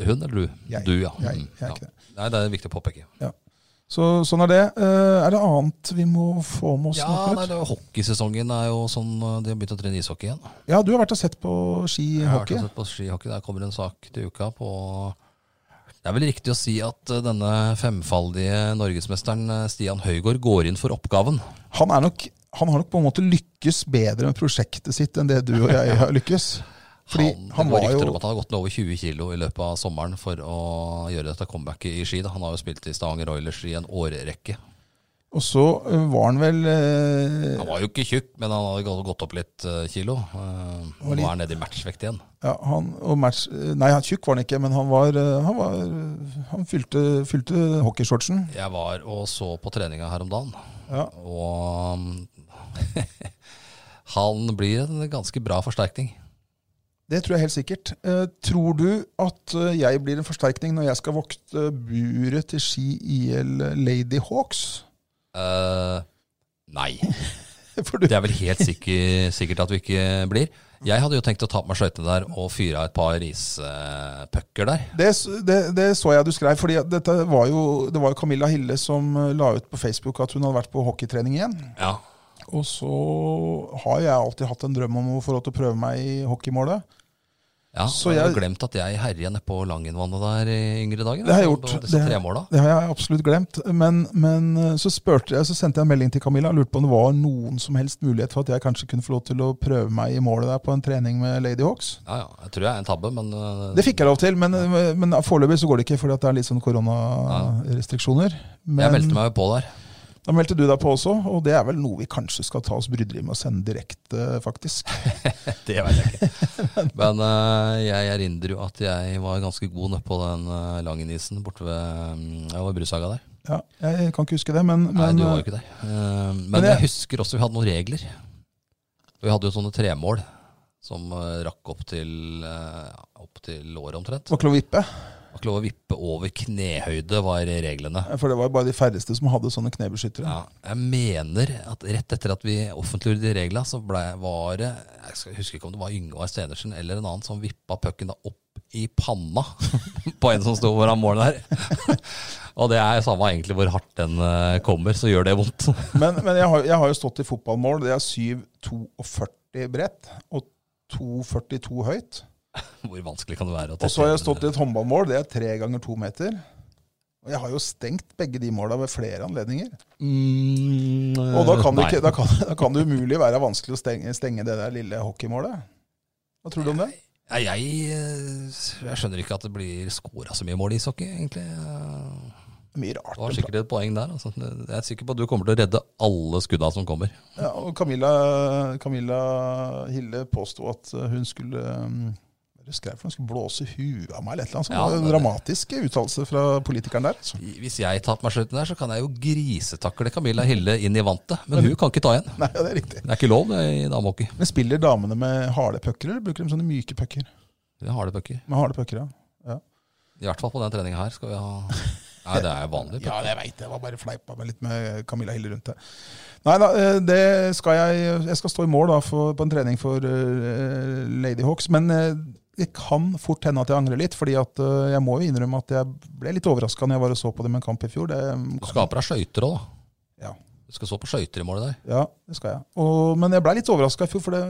[SPEAKER 2] Hun eller du?
[SPEAKER 1] Jeg.
[SPEAKER 2] Du, ja.
[SPEAKER 1] Jeg,
[SPEAKER 2] Mm,
[SPEAKER 1] jeg er
[SPEAKER 2] ja.
[SPEAKER 1] ikke det.
[SPEAKER 2] Nei, det er viktig å påpeke.
[SPEAKER 1] Så sånn er det. Eh, er det annet vi må få med oss?
[SPEAKER 2] Ja,
[SPEAKER 1] nå,
[SPEAKER 2] nei,
[SPEAKER 1] Knut?
[SPEAKER 2] det er, Hockeysesongen er jo sånn eh, De har begynt å trene ishockey igjen.
[SPEAKER 1] ja, du har vært og sett på
[SPEAKER 2] Jeg har vært
[SPEAKER 1] skihockey?
[SPEAKER 2] og sett på skihockey. Der kommer en sak til uka på Det er vel riktig å si at eh, denne femfaldige norgesmesteren eh, Stian Høygård går inn for oppgaven.
[SPEAKER 1] Han, er nok, han har nok på en måte lykkes bedre med prosjektet sitt enn det du og jeg har lykkes. Fordi
[SPEAKER 2] han,
[SPEAKER 1] han
[SPEAKER 2] det går
[SPEAKER 1] var
[SPEAKER 2] rykter
[SPEAKER 1] jo-
[SPEAKER 2] om at han har gått ned over 20 kilo i løpet av sommeren for å gjøre dette comebacket i ski. Da. Han har jo spilt i Stavanger Oilers i en årrekke.
[SPEAKER 1] Og så ø, var han vel eh, ø,
[SPEAKER 2] Han var jo ikke tjukk, men han hadde gått opp litt eh, kilo. Eh, Nå er han nede i matchvekt igjen.
[SPEAKER 1] ja, han, og match, Nei, han tjukk var han ikke, men han var ø, Han, var, ø, han fylte, fylte hockeyshortsen.
[SPEAKER 2] Jeg var og så på treninga her om dagen,
[SPEAKER 1] Ja.
[SPEAKER 2] og mm, han blir en ganske bra forsterkning.
[SPEAKER 1] Det tror jeg helt sikkert. Eh, tror du at ø, jeg blir en forsterkning når jeg skal vokte buret til Ski IL Lady Hawks?
[SPEAKER 2] Eh, nei,
[SPEAKER 1] For du,
[SPEAKER 2] det er vel helt sikker, sikkert at vi ikke blir. Jeg hadde jo tenkt å ta på meg skøytene der og fyre av et par ispucker der.
[SPEAKER 1] det, s- det, det så jeg du skrev, for dette var jo, det var jo Camilla Hille som ø, la ut på Facebook at hun hadde vært på hockeytrening igjen.
[SPEAKER 2] Ja,
[SPEAKER 1] Og så har jeg alltid hatt en drøm om å få lov til å prøve meg i hockeymålet.
[SPEAKER 2] Ja,
[SPEAKER 1] Så
[SPEAKER 2] jeg har
[SPEAKER 1] jeg-
[SPEAKER 2] jo glemt at jeg herja nedpå Langenvannet der i yngre dager.
[SPEAKER 1] Det har jeg
[SPEAKER 2] altså,
[SPEAKER 1] gjort.
[SPEAKER 2] på Disse
[SPEAKER 1] Det-
[SPEAKER 2] tre måla.
[SPEAKER 1] Det har jeg absolutt glemt. Men, men eh, så, spurte jeg, så sendte jeg en melding til Camilla og lurte på om det var noen som helst mulighet for at jeg kanskje kunne få lov til å prøve meg i målet der på en trening med Ladyhawks.
[SPEAKER 2] Ja, ja. Jeg tror jeg er en tabbe, men eh,
[SPEAKER 1] Det fikk jeg lov til, men, eh, men foreløpig så går det ikke fordi at det er litt sånn koronarestriksjoner. Men
[SPEAKER 2] jeg meldte meg jo på der.
[SPEAKER 1] da meldte du deg på også, og det er vel noe vi kanskje skal ta oss bryderi med å sende direkte, faktisk.
[SPEAKER 2] Det vet jeg ikke. Men eh, jeg erindrer jo at jeg var ganske god nedpå den eh, Langenisen borte ved mm, Jeg var i Brusaga der.
[SPEAKER 1] Ja, jeg kan ikke huske det, men,
[SPEAKER 2] Nei,
[SPEAKER 1] men øh,
[SPEAKER 2] du var jo ikke der. Eh, Men,
[SPEAKER 1] men
[SPEAKER 2] jeg
[SPEAKER 1] jeg-
[SPEAKER 2] husker også vi hadde noen regler. Vi hadde jo sånne tremål som eh, rakk opp til, eh, ja, opp til låret omtrent.
[SPEAKER 1] var ikke lov å vippe.
[SPEAKER 2] Det var ikke lov å vippe over knehøyde, var reglene.
[SPEAKER 1] For det var bare de færreste som hadde sånne knebeskyttere.
[SPEAKER 2] Ja, jeg mener at rett etter at vi offentliggjorde de reglene, så ble, var det Jeg skal- husker ikke om det var Yngvar Stenersen eller en annen som vippa pucken da opp i panna på en som sto foran målet der. Og det er samme egentlig hvor hardt den eh, kommer, så gjør det vondt.
[SPEAKER 1] Men, men jeg, har, jeg har jo stått i fotballmål. Det er 7,42 bredt og 2,42 høyt.
[SPEAKER 2] Hvor vanskelig kan det være? å
[SPEAKER 1] Og så har jeg
[SPEAKER 2] testere?
[SPEAKER 1] stått i et håndballmål. Det er tre ganger to meter. Og jeg har jo stengt begge de måla ved flere anledninger.
[SPEAKER 2] Mm,
[SPEAKER 1] Og da kan, det
[SPEAKER 2] nei.
[SPEAKER 1] ikke, da kan, da kan det umulig være vanskelig å stenge, stenge det der lille hockeymålet. Hva tror du om det?
[SPEAKER 2] Nei, jeg, eh, jeg skjønner ikke at det blir scora så mye mål i ishockey, egentlig. Eh,
[SPEAKER 1] Mye
[SPEAKER 2] Det var
[SPEAKER 1] rart.
[SPEAKER 2] sikkert et poeng der. Altså. Jeg er sikker på at du kommer til å redde alle skudda som kommer.
[SPEAKER 1] Ja, og Camilla, Camilla Hille påsto at eh, hun skulle um, hva er det hun skrev for noe? Hun skulle blåse huet av meg eller et eller annet. sånt.
[SPEAKER 2] Ja,
[SPEAKER 1] det var
[SPEAKER 2] det-
[SPEAKER 1] en dramatisk uttalelse fra politikeren der. altså.
[SPEAKER 2] Hvis jeg tar på meg slutten der, så kan jeg jo grisetakle Camilla Hille inn i vantet. Men hun kan ikke ta igjen.
[SPEAKER 1] Nei, ja, det er riktig.
[SPEAKER 2] Det er ikke lov det i damehockey.
[SPEAKER 1] Men spiller damene med harde pucker, eller bruker de sånne myke pucker?
[SPEAKER 2] Vi har det pucker.
[SPEAKER 1] Med harde pucker, ja.
[SPEAKER 2] I hvert fall på den treninga her skal vi ha Nei, det er vanlig. pucker.
[SPEAKER 1] Ja, det veit jeg. Var bare fleipa med litt med Camilla Hille rundt det. Nei da, eh, det skal jeg Jeg skal stå i mål da for, på en trening for eh, Ladyhawks. Men eh, det kan fort hende at jeg angrer litt, fordi at eh, jeg må jo innrømme at jeg ble litt overraska når jeg var og så på dem en kamp i fjor. Det, mm,
[SPEAKER 2] Du skaper deg skøyter òg, da.
[SPEAKER 1] Ja.
[SPEAKER 2] Du skal så på skøyter i målet der.
[SPEAKER 1] ja, det skal jeg. Og, men jeg ble litt overraska i fjor, for det,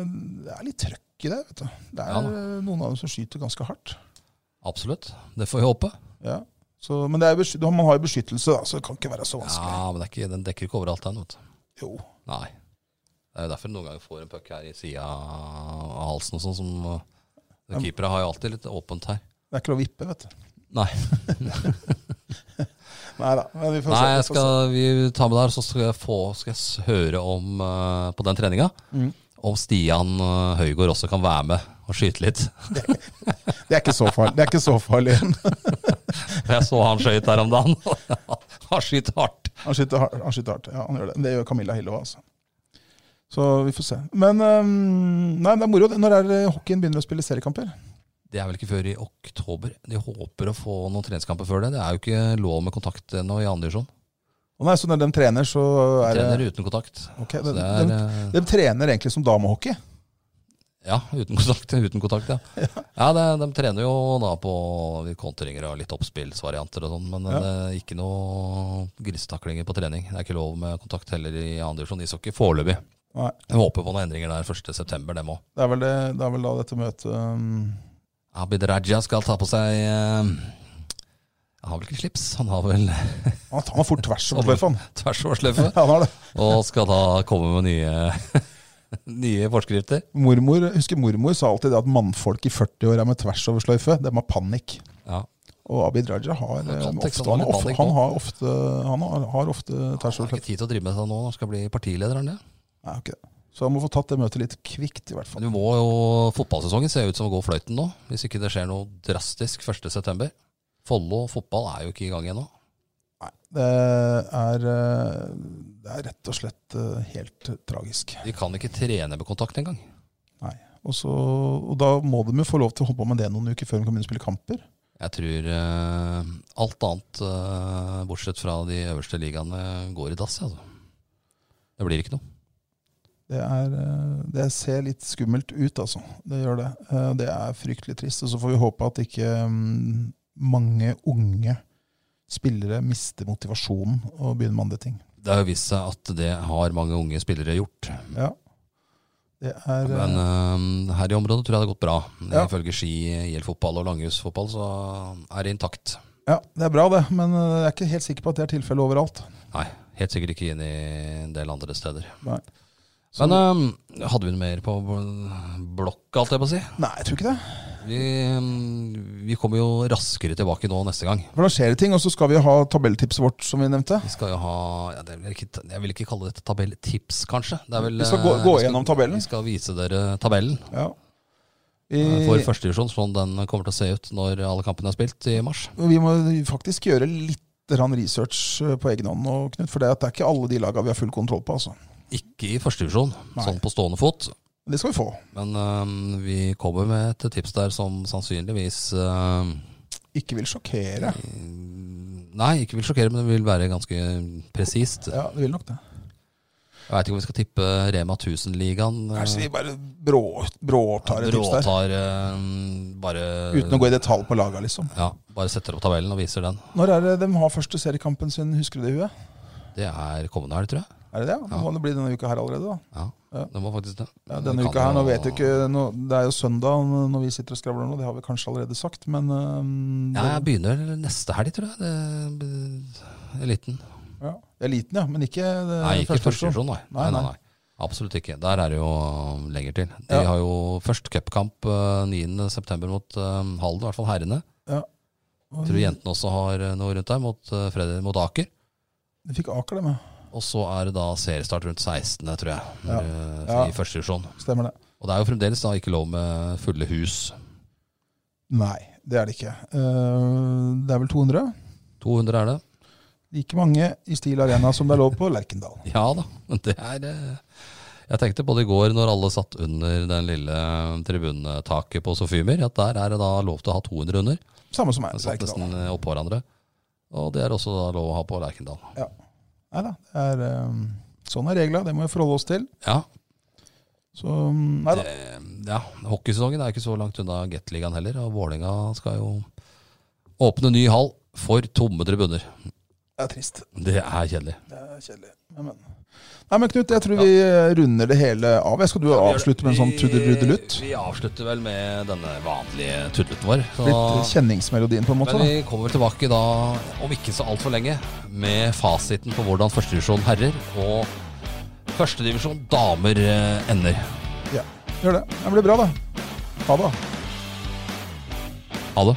[SPEAKER 1] det er litt trøkk i det. vet du. Det er
[SPEAKER 2] Ja da.
[SPEAKER 1] eh, noen av dem som skyter ganske hardt.
[SPEAKER 2] Absolutt. Det får vi håpe.
[SPEAKER 1] Ja. Så, men det er, besky- man har jo beskyttelse, da, så det kan ikke være så vanskelig.
[SPEAKER 2] Ja, men det er ikke, den dekker ikke overalt den, vet du.
[SPEAKER 1] Jo.
[SPEAKER 2] Nei. Det er jo derfor du noen ganger får en puck her i sida av halsen og sånn som uh, Keepere har jo alltid litt åpent her.
[SPEAKER 1] Det er ikke lov å vippe, vet du.
[SPEAKER 2] Nei,
[SPEAKER 1] Nei da. Men vi får
[SPEAKER 2] Nei
[SPEAKER 1] se.
[SPEAKER 2] jeg
[SPEAKER 1] Vi får se.
[SPEAKER 2] skal, vi tar med det her, så skal jeg, få, skal jeg s- høre om uh, på den treninga om Stian uh, Høygård også kan være med og skyte litt.
[SPEAKER 1] Det er ikke så farlig. Det er ikke så farlig.
[SPEAKER 2] For jeg så han skøyt her om dagen. han skyter hardt.
[SPEAKER 1] Han skyter hardt. Han skyter hardt. Ja, han gjør det. Det gjør Camilla Hilleva, altså. Så vi får se. Men øhm, nei, det er moro. Når er det hockeyen begynner å spille seriekamper?
[SPEAKER 2] Det er vel ikke før i oktober. De håper å få noen treningskamper før det. Det er jo ikke lov med kontakt ennå i andre divisjon.
[SPEAKER 1] Å nei, så når de trener, så er det
[SPEAKER 2] Trener uten kontakt.
[SPEAKER 1] Ok,
[SPEAKER 2] Så
[SPEAKER 1] de,
[SPEAKER 2] det
[SPEAKER 1] de,
[SPEAKER 2] er uh,
[SPEAKER 1] de trener egentlig som damehockey.
[SPEAKER 2] Ja, uten kontakt. Uten kontakt ja. ja det, de trener jo da på kontringer og litt oppspillsvarianter og sånn, men
[SPEAKER 1] Ja.
[SPEAKER 2] det er ikke noe grisetaklinger på trening. Det er ikke lov med kontakt heller i andre divisjon ishockey foreløpig.
[SPEAKER 1] Nei,
[SPEAKER 2] Jeg håper på noen endringer der 1.9., dem òg.
[SPEAKER 1] det er vel, det, det er vel da dette møtet ehm, øhm,
[SPEAKER 2] Abid Raja skal ta på seg eh, Han har vel ikke slips, han har vel
[SPEAKER 1] Han tar meg fort tvers over sløyfen.
[SPEAKER 2] tversoversløyfe.
[SPEAKER 1] Ja, han har det.
[SPEAKER 2] Og skal da komme med nye, nye forskrifter.
[SPEAKER 1] Mormor, jeg husker mormor sa alltid det at mannfolk i 40-åra med tvers over sløyfe, dem har panikk.
[SPEAKER 2] Ja.
[SPEAKER 1] Og Abid Raja har eh,
[SPEAKER 2] kan
[SPEAKER 1] ofte,
[SPEAKER 2] tenke seg
[SPEAKER 1] han,
[SPEAKER 2] å
[SPEAKER 1] har ofte,
[SPEAKER 2] ha litt panikk
[SPEAKER 1] han
[SPEAKER 2] nå.
[SPEAKER 1] har ofte, han har, har ofte
[SPEAKER 2] Han
[SPEAKER 1] tvers
[SPEAKER 2] har
[SPEAKER 1] over
[SPEAKER 2] ikke
[SPEAKER 1] slett.
[SPEAKER 2] tid til å drive med seg nå, han skal bli partileder, er han det?
[SPEAKER 1] Nei, ok. Så han må få tatt det møtet litt kvikt, i hvert fall.
[SPEAKER 2] Du må jo, Fotballsesongen ser ut som å gå fløyten nå, hvis ikke det skjer noe drastisk 1.9. Follo fotball er jo ikke i gang ennå.
[SPEAKER 1] Nei, det er, eh, det er rett og slett eh, helt tragisk.
[SPEAKER 2] De kan ikke trene med kontakt engang.
[SPEAKER 1] Nei. Og, så, og da må de jo få lov til å holde på med det noen uker før de kan begynne å spille kamper.
[SPEAKER 2] Jeg tror eh, alt annet, eh, bortsett fra de øverste ligaene, går i dass. Altså. Det blir ikke noe.
[SPEAKER 1] Det, er, eh, det ser litt skummelt ut, altså. Det gjør det. Eh, Det er fryktelig trist. Og så får vi håpe at ikke mm, mange unge spillere mister motivasjonen og begynner med andre ting.
[SPEAKER 2] Det har jo vist seg at det har mange unge spillere gjort.
[SPEAKER 1] Ja. Det er eh,
[SPEAKER 2] Men eh, her i området tror jeg det har gått bra.
[SPEAKER 1] Ja.
[SPEAKER 2] Ifølge ski, IL-fotball og langhusfotball så er det intakt.
[SPEAKER 1] Ja, det er bra det, men eh, jeg er ikke helt sikker på at det er tilfellet overalt.
[SPEAKER 2] Nei, helt sikkert ikke inn i en del andre steder.
[SPEAKER 1] Nei.
[SPEAKER 2] Men eh, hadde vi noe mer på bl- blokka, alt jeg på å si?
[SPEAKER 1] Nei, jeg tror ikke det.
[SPEAKER 2] Vi, eh, vi kommer jo raskere tilbake nå neste gang.
[SPEAKER 1] For da skjer det ting, og så skal vi ha tabelltipset vårt, som vi nevnte.
[SPEAKER 2] Vi skal jo ha ja, det er vel ikke, Jeg vil ikke kalle det et tabelltips, kanskje. Det er vel,
[SPEAKER 1] Vi skal gå- gå
[SPEAKER 2] eh, vi skal-
[SPEAKER 1] gjennom tabellen.
[SPEAKER 2] Vi skal vise dere tabellen
[SPEAKER 1] Ja.
[SPEAKER 2] eh, for
[SPEAKER 1] I,
[SPEAKER 2] førstedivisjon, sånn den kommer til å se ut når alle kampene er spilt i mars.
[SPEAKER 1] vi må faktisk gjøre litt grann research eh, på egen hånd, nå, Knut, for det at det er ikke alle de laga vi har full kontroll på. altså.
[SPEAKER 2] Ikke i førstedivisjon,
[SPEAKER 1] Nei.
[SPEAKER 2] sånn på stående fot.
[SPEAKER 1] Men Det skal vi få.
[SPEAKER 2] Men eh, vi kommer med et tips der som sannsynligvis eh,
[SPEAKER 1] Ikke vil sjokkere.
[SPEAKER 2] Nei, ikke vil sjokkere, men det vil være ganske presist.
[SPEAKER 1] Ja, det vil nok det.
[SPEAKER 2] Jeg veit ikke om vi skal tippe Rema eh, 1000-ligaen.
[SPEAKER 1] Nei, så vi bare brå- bråtar et tips der.
[SPEAKER 2] Råtar eh, bare
[SPEAKER 1] Uten å gå i detalj på laga, liksom.
[SPEAKER 2] Ja, bare setter opp tabellen og viser den.
[SPEAKER 1] Når er det de har første seriekampen sin, husker du det i huet?
[SPEAKER 2] Det er kommende helg, tror jeg.
[SPEAKER 1] Er det det? Nå må det bli denne uka her allerede, da.
[SPEAKER 2] Ja,
[SPEAKER 1] Ja.
[SPEAKER 2] det må faktisk det.
[SPEAKER 1] Ja, denne
[SPEAKER 2] Det
[SPEAKER 1] uka
[SPEAKER 2] kan
[SPEAKER 1] her, nå
[SPEAKER 2] jo-
[SPEAKER 1] vet jeg ikke nå, Det er jo søndag når vi sitter og skravler nå, det har vi kanskje allerede sagt, men eh, øhm,
[SPEAKER 2] Ja,
[SPEAKER 1] det,
[SPEAKER 2] jeg begynner neste helg, tror jeg. Det, eliten.
[SPEAKER 1] ja, det er liten, ja. Men ikke det,
[SPEAKER 2] Nei, ikke
[SPEAKER 1] første
[SPEAKER 2] første
[SPEAKER 1] divisjon.
[SPEAKER 2] divisjon, nei.
[SPEAKER 1] Nei,
[SPEAKER 2] Nei, nei,
[SPEAKER 1] nei.
[SPEAKER 2] nei. Absolutt ikke. Der er det jo um, lenger til. De
[SPEAKER 1] Ja.
[SPEAKER 2] har jo først cupkamp eh, 9. september mot eh, Halden, i hvert fall herrene.
[SPEAKER 1] Og
[SPEAKER 2] Tror jentene også har eh, noe rundt der, mot, eh, Fredri- mot Aker.
[SPEAKER 1] De fikk Aker, dem, ja.
[SPEAKER 2] Og så er det da seriestart rundt 16., tror jeg,
[SPEAKER 1] Ja.
[SPEAKER 2] eh,
[SPEAKER 1] Ja.
[SPEAKER 2] i første divisjon.
[SPEAKER 1] Stemmer det.
[SPEAKER 2] Og det er jo fremdeles da ikke lov med fulle hus.
[SPEAKER 1] Nei, det er det ikke. Eh, det er vel 200?
[SPEAKER 2] 200 er det.
[SPEAKER 1] Like mange i Stil Arena som det er lov på Lerkendal.
[SPEAKER 2] Ja da, men det er eh, Jeg tenkte på det i går når alle satt under den lille tribunetaket på Sofimer, at der er det da lov til å ha 200 under.
[SPEAKER 1] Samme som meg.
[SPEAKER 2] Den satt
[SPEAKER 1] Lerkendal.
[SPEAKER 2] nesten eh, oppå hverandre. Og det er også da lov å ha på Lerkendal.
[SPEAKER 1] Nei da. Det er, øhm, sånn er reglene, det må vi forholde oss til.
[SPEAKER 2] Ja,
[SPEAKER 1] Så mm, øhm, nei da.
[SPEAKER 2] det, ja hockeysesongen er ikke så langt unna Gateligaen heller, og Vålerenga skal jo åpne ny hall for tomme tribuner.
[SPEAKER 1] Det er trist.
[SPEAKER 2] Det er kjedelig.
[SPEAKER 1] Det er kjedelig. Men, men. Nei, men Knut, jeg tror vi eh, runder det hele av. Jeg skal du avslutte med en sånn tuddeludelutt?
[SPEAKER 2] Vi avslutter vel med denne vanlige tuddelutten vår. så-
[SPEAKER 1] Litt altså. kjenningsmelodien, på en måte.
[SPEAKER 2] men
[SPEAKER 1] da.
[SPEAKER 2] vi kommer tilbake da, om ikke så altfor lenge, med fasiten på hvordan førstedivisjon herrer og førstedivisjon damer eh, ender.
[SPEAKER 1] Ja, gjør det. Det blir bra, det. Ha det. da.
[SPEAKER 2] Ha det.